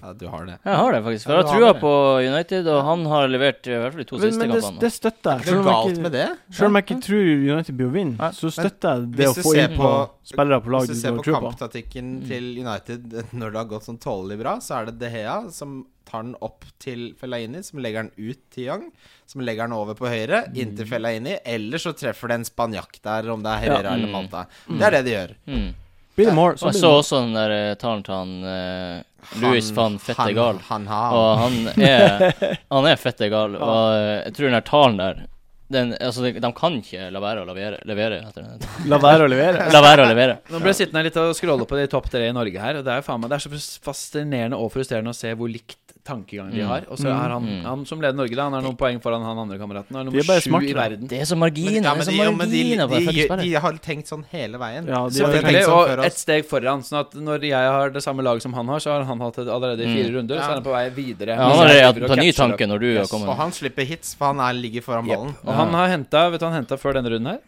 Ja, du har det.
Jeg har det faktisk. For
Ja,
jeg
du
har
har
trua
det.
på United, og han har levert eh, i hvert fall de to
Men,
siste
men det,
kampene.
det støtter jeg.
Det er
Selv
noe
om jeg
galt
ikke-
med det.
selv om jeg ikke tror United blir å vinne,
Nei,
så støtter jeg det
hvis
å
du
få
ser
inn på
på-
spillere på
Hvis
lag
du
du
ser
har
på
tro på.
kampstatikken til United når det har gått sånn tålelig bra, så er det De Hea som tar den opp til Fellaini, som legger den ut til Young, som legger den over på høyre, inn til Fellaini, eller så treffer det en spanjakk der, om det er Herrera
Ja.
eller
Mm.
Manta. Det er det de gjør.
Mm.
Blir det mål, så
Og
blir det
jeg så
mål.
også den der eh, talen til han eh, Louis van
han,
Fettegal.
Han, har
Og han er, [LAUGHS] han er fettegal. Og eh, jeg tror den der talen der den, altså, de, de kan ikke la være å levere. levere etter den.
La være å levere.
La være å levere.
Nå ble jeg sittende her litt og scrolle på de topp tre i Norge her. Og det er jo faen meg Det er så fascinerende og frustrerende å se hvor likt tankegang de
Mm.
har. Og så er han,
Mm.
han som leder Norge, da, han har noen poeng foran han andre kameraten. Han er
De er
nummer
bare
sju
smartere.
i verden.
[LAUGHS] Det er så marginer.
ja,
det
men
er
de,
så
ja, men de,
marginer på
de,
en
de,
fettespiller.
har tenkt sånn hele veien.
Ja, de
Så
har
det
tenkt
Selvfølgelig,
tenkt sånn før
og
oss.
ett steg foran. Sånn at når jeg har det samme laget som han har, så har han hatt det allerede i fire
Mm.
runder. Så
Ja.
er han på vei videre.
Ja, han har
Så
ja,
jeg driver og
på ny
catcher
tanke
opp.
når du har
Yes.
Og
kommet.
han slipper hits, for han er, ligger foran
Jep.
ballen.
Og han har henta Vet du hva han henta før denne runden her?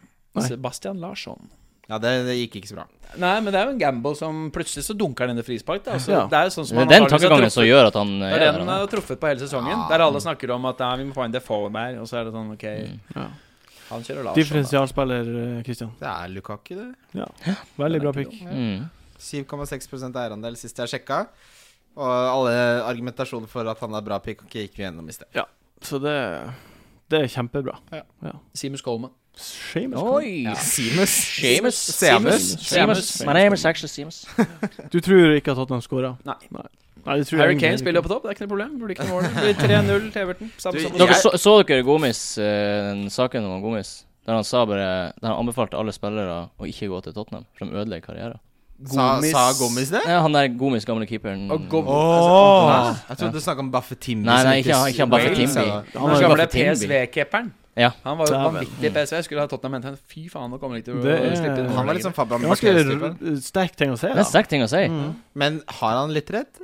Sebastian Larsson.
Ja, det, det gikk ikke så bra.
Nei, men det er jo en gamble som plutselig så dunker han inn i frispark. Da. Så
Ja.
Det er jo sånn som
Det er
han
den
antageligvis
liksom
har
tankegangen som
truffet.
gjør at han eh,
Det
er
er det
der.
han
han.
har truffet på hele sesongen.
Ja.
Der alle snakker om at nei, vi må få en Defoe der, og så er det sånn OK,
Mm.
Ja.
han kjører Larsson. da.
[LAUGHS] Differensialspiller, eh, Christian.
Det er Lukaku, det.
Veldig bra pick.
eh,
Mm.
7,6 eierandel sist jeg sjekka. Og alle argumentasjoner for at han er bra pick, gikk vi gjennom i sted.
Så det, det er kjempebra.
Seamus Coleman.
Seamus Coleman.
Oi!
Seamus.
Seamus.
Seamus.
Seamus. My name is actually Seamus.
Du tror ikke at Tottenham skåra?
Nei.
Nei. Nei, det tror jeg
Harry
egentlig
Kane
ikke.
spiller jo på topp, det er ikke noe problem. Blir ikke noe mål. Blir 3-0 til Everton. Samme
Du,
som
Dere
Jeg-
så, så dere Gomis, eh, den saken om Gomis? Der han sa bare Der han anbefalte alle spillere å ikke gå til Tottenham, for de ødelegger karrieren.
Sa,
Gomis.
sa Gomis det?
Ja, han der Gomis, gamle keeperen
Og Gom-
Åh
altså,
Jeg trodde du snakka om Baffe Timby.
Nei,
som altså.
nei, ikke, han- ikke han bare for
Wales,
Timby.
sa det.
Han
Han
var
var
jo
gamle
bare for Timby.
PSV-keeperen.
Ja.
Han var jo
Dæven.
vanvittig i PSV. Skulle ha Tottenham hentet ham fy faen, nå kommer de ikke til å
Det er-
slippe inn.
Han var litt sånn Fabian
Det var
Barthes-typen.
ganske sterk ting å si,
Det
da.
er
Mm.
en sterk ting å si.
Men har han litt rett?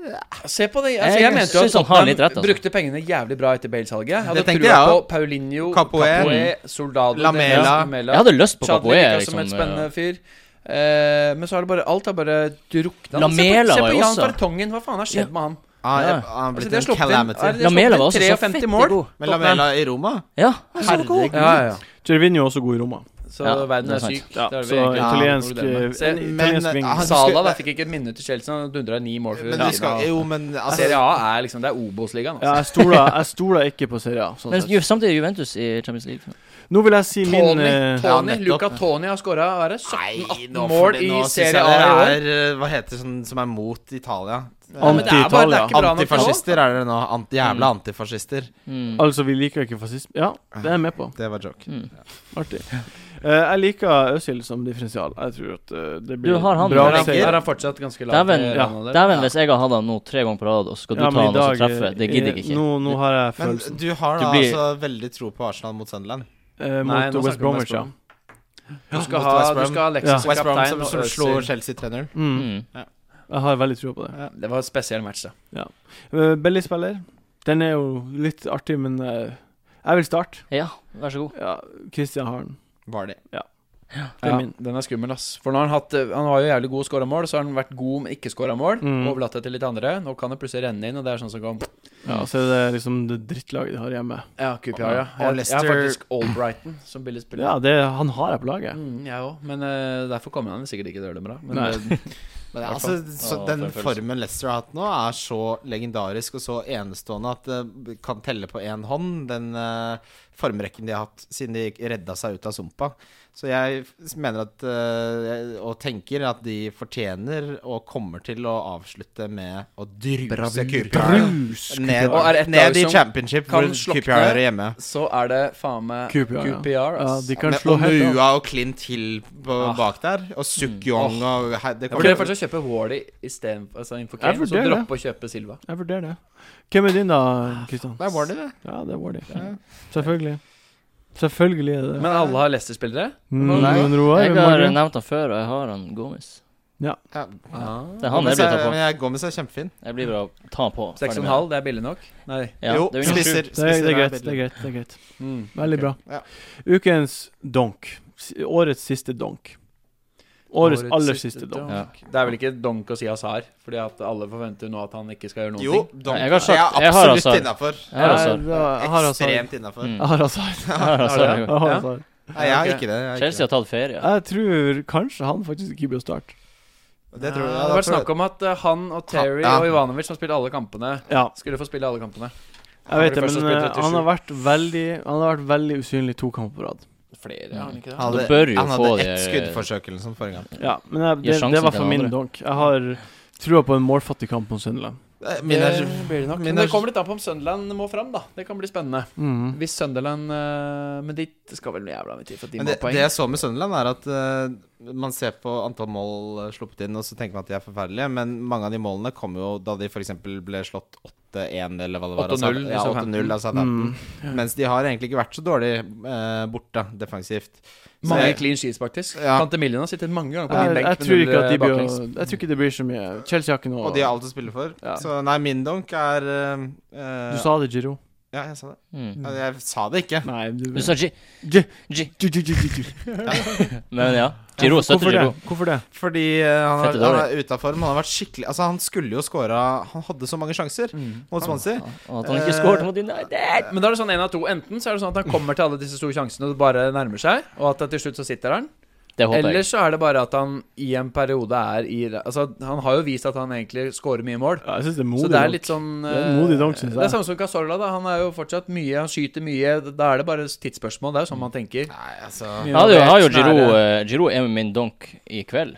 Se på det. Altså, jeg,
Jeg
mente jo at
synes han har
Tottenham
litt rett, altså.
brukte pengene jævlig bra etter Bale-salget. Jeg hadde
Det tenkte
trua
jeg
på
også.
Paulinho,
Capoe,
Soldado,
Lamela.
Jeg hadde lyst på
Chadli
Papoe.
virka som
Liksom,
et
eh,
spennende fyr. Eh, men så har det bare alt har bare drukna.
Lamela
se på, se
var jo
på Jan
også-
Fartongen. Hva faen har skjedd med
Han
han?
Ja.
Ah, han har
Altså,
blitt
de har
en
sluppet inn-
calamity.
er det-
Lamela var
slått
også
inn
så
53
fettig
mål.
god.
Men Lamela i Roma?
Ja.
Herregud.
Ja, ja, ja.
Cervinio er også god i Roma.
Så
Ja,
verden
det er
er
sant.
syk.
Ja,
Det er vi
så
egentlig.
italiensk
Ja,
eh,
Se,
en
men,
italiensk wing.
eh, han-
Sala da fikk ikke et minutt til Chelsea. Han dundra ni mål. for
Men
Real.
vi skal Jo, men altså
Serie A er liksom Det er Obos-ligaen.
Ja,
Altså.
jeg stoler, jeg stoler ikke på Serie A. Sånn
Men
sett.
ju- samtidig Juventus i Champions League.
Nå vil jeg si min
Tony,
eh,
ja,
Tony,
nettopp.
Luca Tony har skåra
Nei,
17-18
nå får
mål
det-
i
nå synes jeg
Serie A i år.
dere er, eh, Hva heter det sånn som er mot Italia?
Ja, men det er bare- det er
Anti-Italia.
ikke bra nok nå.
Antifascister er dere nå. Ant, jævla antifascister.
Mm.
Altså, vi liker ikke fascisme. Ja, det er jeg med på.
Det var joke.
Mm.
Artig. Eh, jeg liker Øzil som differensial. Jeg tror at eh, det blir
Du har han,
bra
men
Der er-
seier.
Der er han fortsatt ganske lav.
Dæven,
eh,
ja.
han der.
Dæven, hvis jeg har hatt han nå tre ganger på rad, og så skal du ta han og så treffe, det gidder jeg
eh,
ikke.
Nå, nå har jeg
Men
følelsen.
du har
Du
da
blir-
altså veldig tro på Arsenal mot Sunderland?
Eh,
Nei,
mot
nå
West
snakker vi om
Bromwich, ja.
Du skal
Mot
ha,
West
du
Brom.
skal ha Alexis
Ja.
som
West Brom
kaptein
som,
og
som
Özil.
slo Chelsea 3-0?
Mm.
Mm.
Jeg har veldig tro på det.
Ja, Det var en spesiell match, da.
Uh, Belly-spiller. Den er jo litt artig, men eh, jeg vil starte.
Ja, vær så god.
Ja, Christian har den.
Var det.
Det er
Ja,
min.
den er skummel, ass. For nå har han hatt eh, Han var jo jævlig god og skåra mål, så har han vært god med ikke skåra mål.
Mm.
Overlatt det til litt andre. Nå kan det plutselig renne inn, og det er sånn som kom.
Ja, så er det liksom det drittlaget de har hjemme.
Ja, QPR, ja.
Og
Jeg, jeg har
Leicester-
faktisk Albrighton som billig spiller.
Ja, det, han har jeg på laget.
Mm, jeg òg, men eh, derfor kommer han sikkert ikke til å gjøre det bra. Men
Nei.
eh,
Men
Hvert
altså, så
Ja,
den
det er følelsen.
formen Leicester har hatt nå, er så legendarisk og så enestående at det kan telle på én hånd, den eh, formrekken de har hatt siden de redda seg ut av sumpa. Så jeg f- mener at eh, og tenker at de fortjener og kommer til å avslutte med å druse QPR
Brus!
ned,
Og er det et lag
ned i
som
championship
kan
hvor
slokne?
QPR er hjemme.
så er det faen meg
QPR, ja.
QPR,
Ja,
ass.
de kan
Med
slå helt av.
Onua og Clint Hill på,
Ah.
bak der, og Sukyong og he- det
Jeg
kommer-
vurderer faktisk å kjøpe Wally istedenfor altså, innenfor
Jeg
Kane, og så
vurderer det.
droppe å kjøpe Silva.
Jeg vurderer det. Hvem er din, da, Kristian?
Det er Wardy, det.
Ja, det er Wardy. Selvfølgelig. Selvfølgelig er det det.
Men alle har Leicester-spillere?
Mm,
Nei.
men Roar,
Jeg
hvem har
har
du?
nevnt han før, og jeg har han Gomis.
Ja.
Det er han jeg
Gomez
blir
er-
tatt på.
Men jeg, Gomez er kjempefin.
Jeg blir bare å ta på. Ferdig med
6,5, det er billig nok? Nei.
det. Ja,
Jo,
det
[LAUGHS]
er [LAUGHS] jo
spiser-
ingen-
Det er, det er greit.
spiser-
det er greit, det er greit
Mm.
Veldig bra.
Ja.
Ukens donk. S- Årets siste donk. Årets aller siste donk.
Ja.
Det er vel ikke donk å si Hazar, fordi at alle forventer nå at han ikke skal gjøre noen
Jo,
ting.
Dom,
Jeg har sagt-
det
jeg
er
har
absolutt
Hazard.
innafor.
Jeg har Hazard.
Jeg altså- har Hazard.
Ekstremt innafor.
Mm.
Jeg har [LAUGHS] Hazard.
Jeg har
Har du det?
Hazard.
Jeg har
Ja.
Hazard.
Nei, jeg har
Ok.
ikke det. Jeg, har ikke
Chelsea har tatt ferie.
Jeg tror kanskje han faktisk ikke blir å starte.
det. det tror jeg.
det har vært snakk om at eh, han og Terry
Ja.
og Ivanovic, som spilte alle kampene,
Ja,
skulle få spille alle
jeg
kampene.
vet
var
det,
den første
men
som
eh,
spilte 37.
han har vært veldig Han har vært veldig usynlig to kamper på rad.
Flere, har han ikke det?
han
Da bør
hadde,
jo
han hadde
få
ett
det-
skuddforsøk eller noe sånt forrige gang.
Ja, men jeg,
Gir
det,
sjansen
det var
til
for
den
min
andre.
donk. Jeg har trua på en målfattig kamp mot Sunderland.
Eh, Min er,
Det blir det nok.
min
Men det
er-
kommer litt an på om Sunderland må fram, da. Det kan bli spennende.
Mm.
Hvis Sunderland eh, Men de skal vel jævla mye tid for at de
men
må
det,
ha
det
poeng.
jeg så med Sunderland, er at eh, man ser på antall mål eh, sluppet inn, og så tenker man at de er forferdelige, men mange av de målene kom jo da de f.eks. ble slått 8-1 eller hva det var. av
8-0
Southampton. Ja,
i Southampton.
8-0 av Southampton. Mens de har egentlig ikke vært så dårlig eh, borte defensivt. Så
Mange
jeg-
clean sheets, faktisk.
Ja.
Tante Million har sittet mange ganger på
Jeg,
din benk.
jeg,
med
tror
null,
ikke at de
eh,
blir å,
baklengs.
Jeg tror ikke det blir så mye Chelsea har ikke noe
Og de har alt å spille for.
Ja.
Så nei, min donk er eh,
Du sa det, Giro.
Ja, jeg sa det.
Mm.
Ja, Jeg sa det ikke.
Nei, du,
Du sa G...
G-
G...
Gi- gi- gi- gi- gi.
Men ja. Giro
Hvorfor
støtter Giro.
det? Hvorfor det?
Fordi eh, han,
Fette
har, han
dårlig.
er ute av form. Han har vært skikkelig Altså, han skulle jo scora Han hadde så mange sjanser mot Swansea.
Og at han ikke skåret mot United.
Men da er det sånn en av to. Enten så er det sånn at han kommer til alle disse store sjansene og det bare nærmer seg, og at til slutt så sitter han.
Det håper jeg.
Ellers så er det bare at han i en periode er i Altså, han har jo vist at han egentlig scorer mye mål.
Ja, jeg syns det er
Så
modig.
det er
nok.
litt sånn
Det er en modig
eh,
dunk, synes jeg.
Det er samme som Casorla, da. Han er jo fortsatt mye, han skyter mye. Da er det bare tidsspørsmål. Det er jo sånn man tenker.
Nei, altså
Ja,
Ja, du
det er
har jo
helt
Giro
nære.
eh, Giro er min donk i kveld.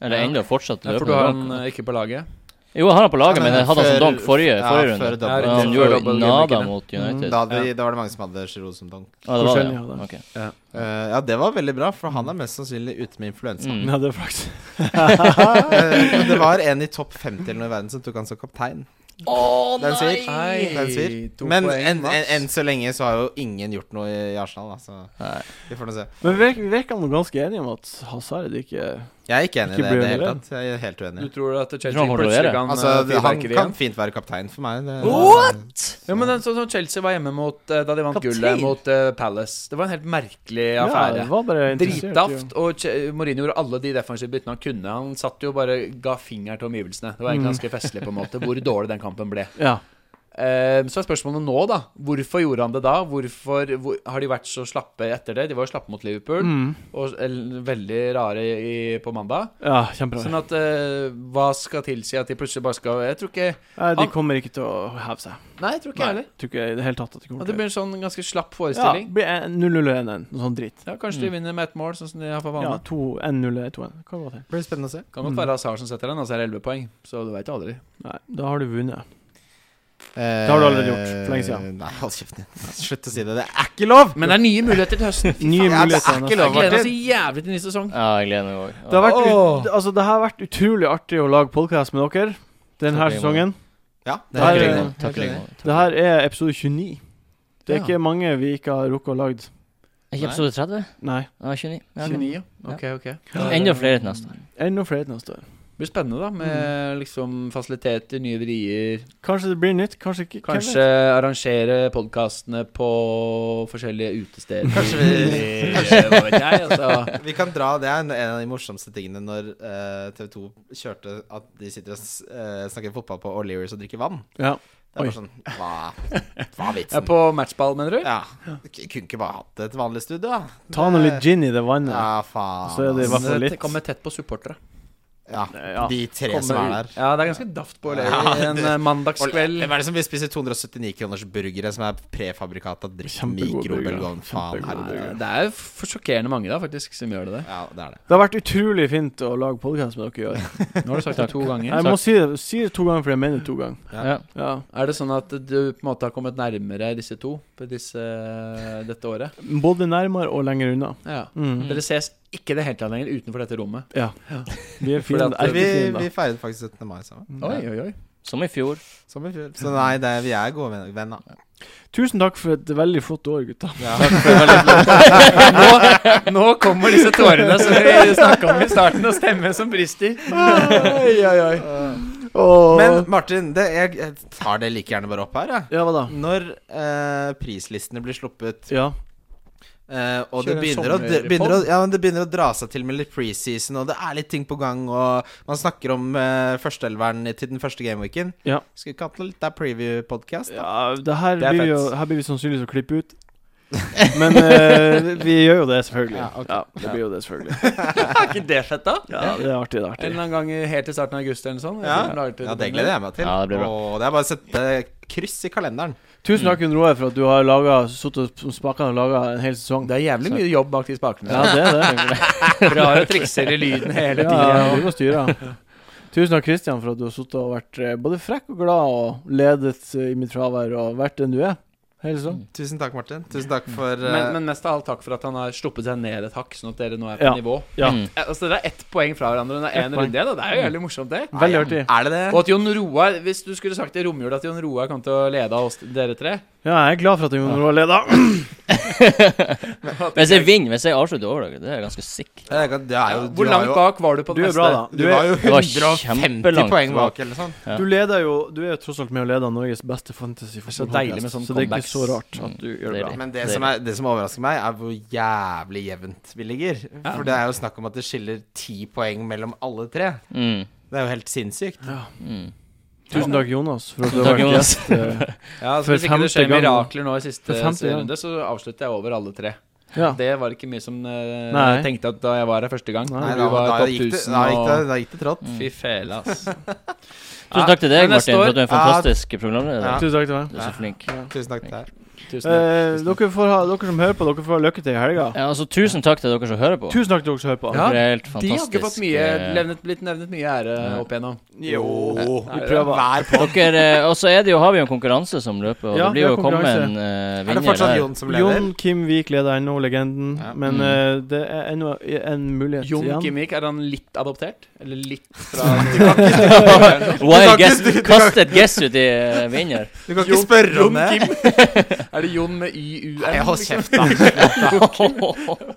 Eller
Ja.
ennå fortsatt
Ja, for
løpende
du har han
donk.
eh, ikke på laget.
Jo, jeg har han på laget,
Ja,
men
men
jeg hadde han som
før-
donk forrige,
ja,
forrige
før
runde.
dobbelt-
Ja, han
før
gjorde jo
dobbelt-
nada
gimmickene.
mot
Mm,
United.
da, hadde vi, da var det mange som hadde Giroud som donk.
Ja, det var det.
Forskjellig, ja,
ja.
det.
Ok.
Eh, ja, det var veldig bra, for han er mest sannsynlig ute med influensa.
Mm.
[LAUGHS] Ja, det er faktisk
[LAUGHS] Eh, men det var en i topp 50 eller noe i verden som tok han som kaptein. Den sier.
Nei,
Den sier.
to
Men
poeng,
enn en,
Mats.
enn så lenge så har jo ingen gjort noe i Arsenal, da, så
Nei.
vi får nå se.
Men vi virker, vi virker nå ganske enige om at Hazard ikke
Jeg er ikke enig i
Ikke
det i det
blir
hele
det.
tatt. Jeg er helt uenig.
Du tror at
Tror
Chelsea
han kommer til å
plutselig
gjøre.
kan
Altså,
altså,
det- han
fyrverkeri
kan
igjen?
fint være kaptein for meg. Det,
What?!
Ja, men den, sånn som Chelsea var hjemme mot, eh, da de vant
Kaptein.
gullet mot eh, Palace. Det var en helt merkelig affære.
det var bare interessert,
Dritaft.
jo.
Og Che- Mourinho gjorde alle de defensive byttene han kunne. Han satt jo bare ga finger til omgivelsene. Det var egentlig
Mm.
ganske festlig, på en måte, hvor dårlig den kampen ble.
Ja.
Eh, Så er spørsmålet nå, da. Hvorfor gjorde han det da? Hvorfor hvor, har de vært så slappe etter det? De var jo slappe mot Liverpool,
Mm.
og eller, veldig rare i, på mandag.
ja, kjempebra.
Sånn at eh, Hva skal tilsi at de plutselig bare skal Jeg tror ikke
Nei, de
han-
kommer ikke til å heve seg.
Nei, jeg tror ikke
Nei,
jeg heller.
Tror ikke i det hele tatt at de
At
kommer
det
til
blir en sånn ganske slapp
Ja,
forestilling.
blir en 0-0 og 1-1. Noe sånn dritt.
Ja, Kanskje de vinner med ett mål, sånn som de har for
Ja,
vane. Mm.
2-1-0 2-1. Hva var det?
blir spennende å se.
Kan godt være Hazard som setter den, altså er det 11 poeng. Så du veit aldri.
Nei, da har du vunnet.
Det
har du allerede gjort, for lenge siden.
Eh, Nei, hold kjeften din. Slutt å si det. Det er ikke lov!
Men det er nye muligheter til [LAUGHS] høsten.
Nye
Ja, det
muligheter.
er
neste-
ikke
Jeg
lov,
gleder meg så
Martin.
jævlig til ny sesong.
Ja, jeg gleder meg òg.
Det har, vært
Åh.
ut, altså, det har vært utrolig artig å lage podkast med dere denne
Takk, Ingvar.
sesongen.
Ja,
Det er-
Takk i
helt
like
eh,
enig.
måte. Takk i like
Helt
måte.
Det her er episode 29. Det er
Ja.
ikke mange vi ikke har rukket å lage.
Er ikke episode 30?
Nei.
Nei, 29. Ja, ok.
29, ja. Ok, ok.
Enda flere til neste år.
Enda flere til neste år.
Det blir spennende, da, med liksom fasiliteter, nye vrier.
Kanskje det blir nytt, kanskje ikke. hvem
Kanskje arrangere podkastene på forskjellige utesteder.
Kanskje vi-
Eh, Hva vet jeg, [LAUGHS] altså.
Vi kan dra, Det er en en av de morsomste tingene når eh, TV 2 kjørte at de sitter og s- eh, snakker fotball på O'Learys og drikker vann.
vet? Ja.
Det er
Oi.
bare sånn Hva,
[LAUGHS]
hva er
Jeg er
vitsen?
på matchball, mener du?
Ja, k- Kunne ikke bare hatt et vanlig studio, da?
Ta nå litt gin i det vannet. Ja.
Ja, faen.
Så er det i hvert
ass.
fall
Så
litt.
det Kommer tett på supportere.
Ja,
Eh, Ja,
de tre som er
Kommer-
der.
Ja, det er ganske daft på å leve
Ja,
i en
det-
eh,
Og
mandagskveld.
Hvem er det som vil spise 279 kroners burgere som er prefabrikata dritt
Kjempegod
mikrobølgeovn?
burger.
Faen,
Kjempegod
herregud.
burger.
Det er jo f- sjokkerende mange, da, faktisk, som gjør det der.
Ja, det er det.
Det har vært utrolig fint å lage podkast med dere i år.
Nå har du sagt det to ganger.
Jeg må si det, si det to ganger, for jeg mener det to ganger.
Ja.
Ja.
Ja.
Er det sånn at du på en måte har kommet nærmere disse to på disse, dette året?
Både nærmere og lenger unna.
Ja.
Mm.
Dere ses ikke i det hele tatt lenger utenfor dette rommet.
Ja. eh, Vi [LAUGHS] er Mm.
Fordi at
fiender.
vi-
Vi,
Erkefiender.
vi feiret faktisk 17. mai sammen.
Oi, oi, oi.
Som i fjor.
Som i fjor. Så nei, det er, vi er gode
[LAUGHS]
venner- venner.
Tusen takk for et veldig flott år, gutta.
[LAUGHS] Nå, nå kommer disse tårene som vi snakka om i starten, og stemmen som brister.
Oi, oi, oi.
Men Martin, det, jeg, jeg tar det like gjerne bare opp her, jeg.
Ja, hva da?
Når eh, prislistene blir sluppet,
Ja.
eh, og
Kjør
det
en
begynner, å, det,
sommerpod.
begynner å, ja, men det begynner å dra seg til med litt preseason, og det er litt ting på gang, og man snakker om eh, førsteelveren til den første gameweeken
Ja.
Skal vi ikke hatt noe litt der preview-podkast?
ja det her
Det er
blir
fett.
jo Her blir vi sannsynligvis å klippe
[LAUGHS]
ut. Men eh, vi gjør jo det, selvfølgelig. Ja,
Ja, ok.
det blir jo det, selvfølgelig.
Er ikke det fett, da?
Ja, det er artig. det er
En
artig
eller annen gang i- helt til starten av august eller noe sånt.
Ja. Ja, det gleder jeg meg til.
Ja, det blir bra.
Og det er bare å sette kryss i kalenderen.
Tusen takk, Jon Roar, for at du har laget, suttet som spakene og laga en hel sesong.
Det er jævlig mye jobb bak de spakene.
Ja, det er det.
Dere har jo trikser i lyden hele
Ja,
tida.
du må styre. Tusen takk, Kristian, for at du har suttet og vært eh, både frekk og glad og ledet eh, i mitt fravær og vært den du er. Hele sesongen.
Tusen takk, Martin. Tusen takk for eh,
Men, men mest av alt takk for at han har sluppet seg ned et hakk, sånn at dere nå er på
Ja.
nivå.
Ja.
[LAUGHS]
Mm.
Eh, Altså Dere er ett poeng fra hverandre under
Ett
én
poeng. Mm.
runde. Da. Det er jo jævlig morsomt, det.
Veldig artig.
Er det det?
Og at Jon Roar Hvis du skulle sagt i romjula at Jon Roar kom til å lede av oss dere tre
Ja, jeg er glad for at Jon Roar leda.
Hvis jeg vinner, hvis jeg avslutter overlaget, det er jeg ganske sick.
Ja, det kan- det er jo, du
Hvor
har
langt
jo,
bak var du på
Du
det
er
neste?
bra, da.
Du var jo
Det var
150
kjempelangt
poeng
bak.
bak, eller sånn.
Ja.
Du leder jo Du er jo tross alt med å lede Norges beste fantasy
så deilig med sånne
så det er ikke
comebacks.
så rart at du gjør det bra.
Deilig.
Men det
Det er
som, er, det som overrasker meg, er hvor jævlig jevnt vi ligger. For det er jo snakk om at det skiller ti poeng mellom alle tre.
Mm.
Det er jo helt sinnssykt.
Mm.
Tusen takk, Jonas, for at du
Tusen
har
takk,
vært
Jonas.
gjest. eh,
Ja, så
For
Hvis ikke det
femte
skjer
gang.
mirakler nå i
For
siste
femte gang.
runde, så avslutter jeg over alle tre.
Ja.
Det var ikke mye som eh,
Nei.
jeg tenkte at da jeg var her første gang.
Nei,
Nei,
Nei,
du
da,
var
da,
topp
gikk det,
1000
da, gikk det,
og
da gikk det trått.
Fy fele,
[LAUGHS]
ass.
Tusen takk til deg,
Men neste
Martin, for
år-
at du er en fantastisk programleder.
Ja.
Tusen takk til meg.
Du er så flink.
Tusen takk til deg.
Tusen takk.
Eh, dere, får ha, dere som hører på, dere får ha lykke til i helga.
Ja, altså, tusen takk til dere som hører på.
Tusen takk til dere som hører på.
Ja.
Dere er helt
De har ikke fått
fantastiske.
mye levnet, blitt nevnet mye ære
Nei.
opp igjennom.
Jo, vi
det-
prøver.
Dere, eh, Og så er det jo, har vi jo en konkurranse som løper, og
Ja,
det blir
vi har
jo kommet
konkurranse.
en eh,
Er det
vinner
fortsatt
[LAUGHS]
der. [LAUGHS]
Jon som leder?
Jon Kim Vik leder ennå, legenden.
Ja.
Men
Mm.
eh, det er ennå en mulighet
Jon
igjen.
Kimmich, er han litt adoptert? Eller litt fra
Wild
Du kan
guess.
ikke- du kan-
Kast et guess ut i eh,
[LAUGHS]
vinner.
Du kan ikke spørre om det.
Er det Jon med YUN?
Nei, hold
liksom?
kjeft, da. Det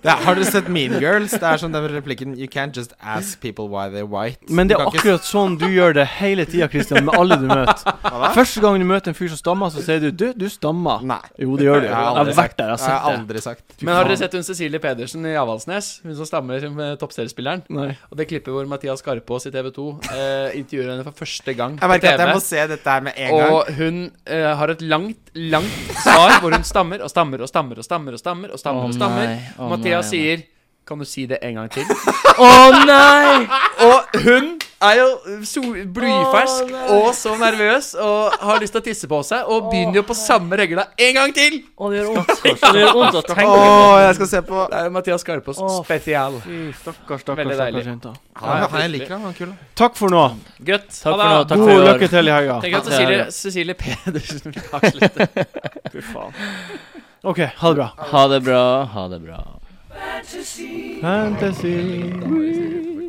er, har dere sett Mean Girls? Det er sånn den replikken You can't just ask people why they're white.
Men det
Du
er
kan ikke-
akkurat sånn du gjør det hele tida, Christian, med alle du møter.
Hva da?
Første gang du møter en fyr som stammer, så sier du 'du, du stammer'.
Nei.
Jo, det gjør du.
Jeg
Jeg
har
har
aldri
vært der, jeg
Det har
har
jeg
sett det.
aldri sagt.
Men har dere sett hun Cecilie Pedersen i Avaldsnes? Hun som stammer med toppseriespilleren?
Nei.
Og det klippet hvor Mathias Karpås i TV 2 eh, intervjuer henne for første gang
Jeg
på
merker at
TV.
jeg må se dette her med en gang.
Og hun eh, har et langt, langt svar hvor hun stammer og stammer og stammer og stammer. og stammer og stammer og stammer Mathias sier Kan du si det en gang til?
Å nei!
Og hun er jo so blyfersk og så nervøs og har lyst til å tisse på seg og begynner jo på samme regla en gang til!
Å, det gjør vondt. Det gjør vondt å tenke på.
Åh, jeg skal se på
Det er jo Mathias Karpås
Å,
spesial.
Stakkars,
Veldig
stakkars,
deilig.
stakkars jenta.
Han, han jeg liker han, han er kul.
Takk for nå.
Gutt.
Takk for
ha
nå.
det.
Takk for i
God
år.
lykke til i helga.
Tenk at
Takk til
Cecilie,
dere.
Cecilie Pedersen vil avslutte.
Fy faen. OK, ha det bra.
Ha det bra. Ha det bra.
Fantasy.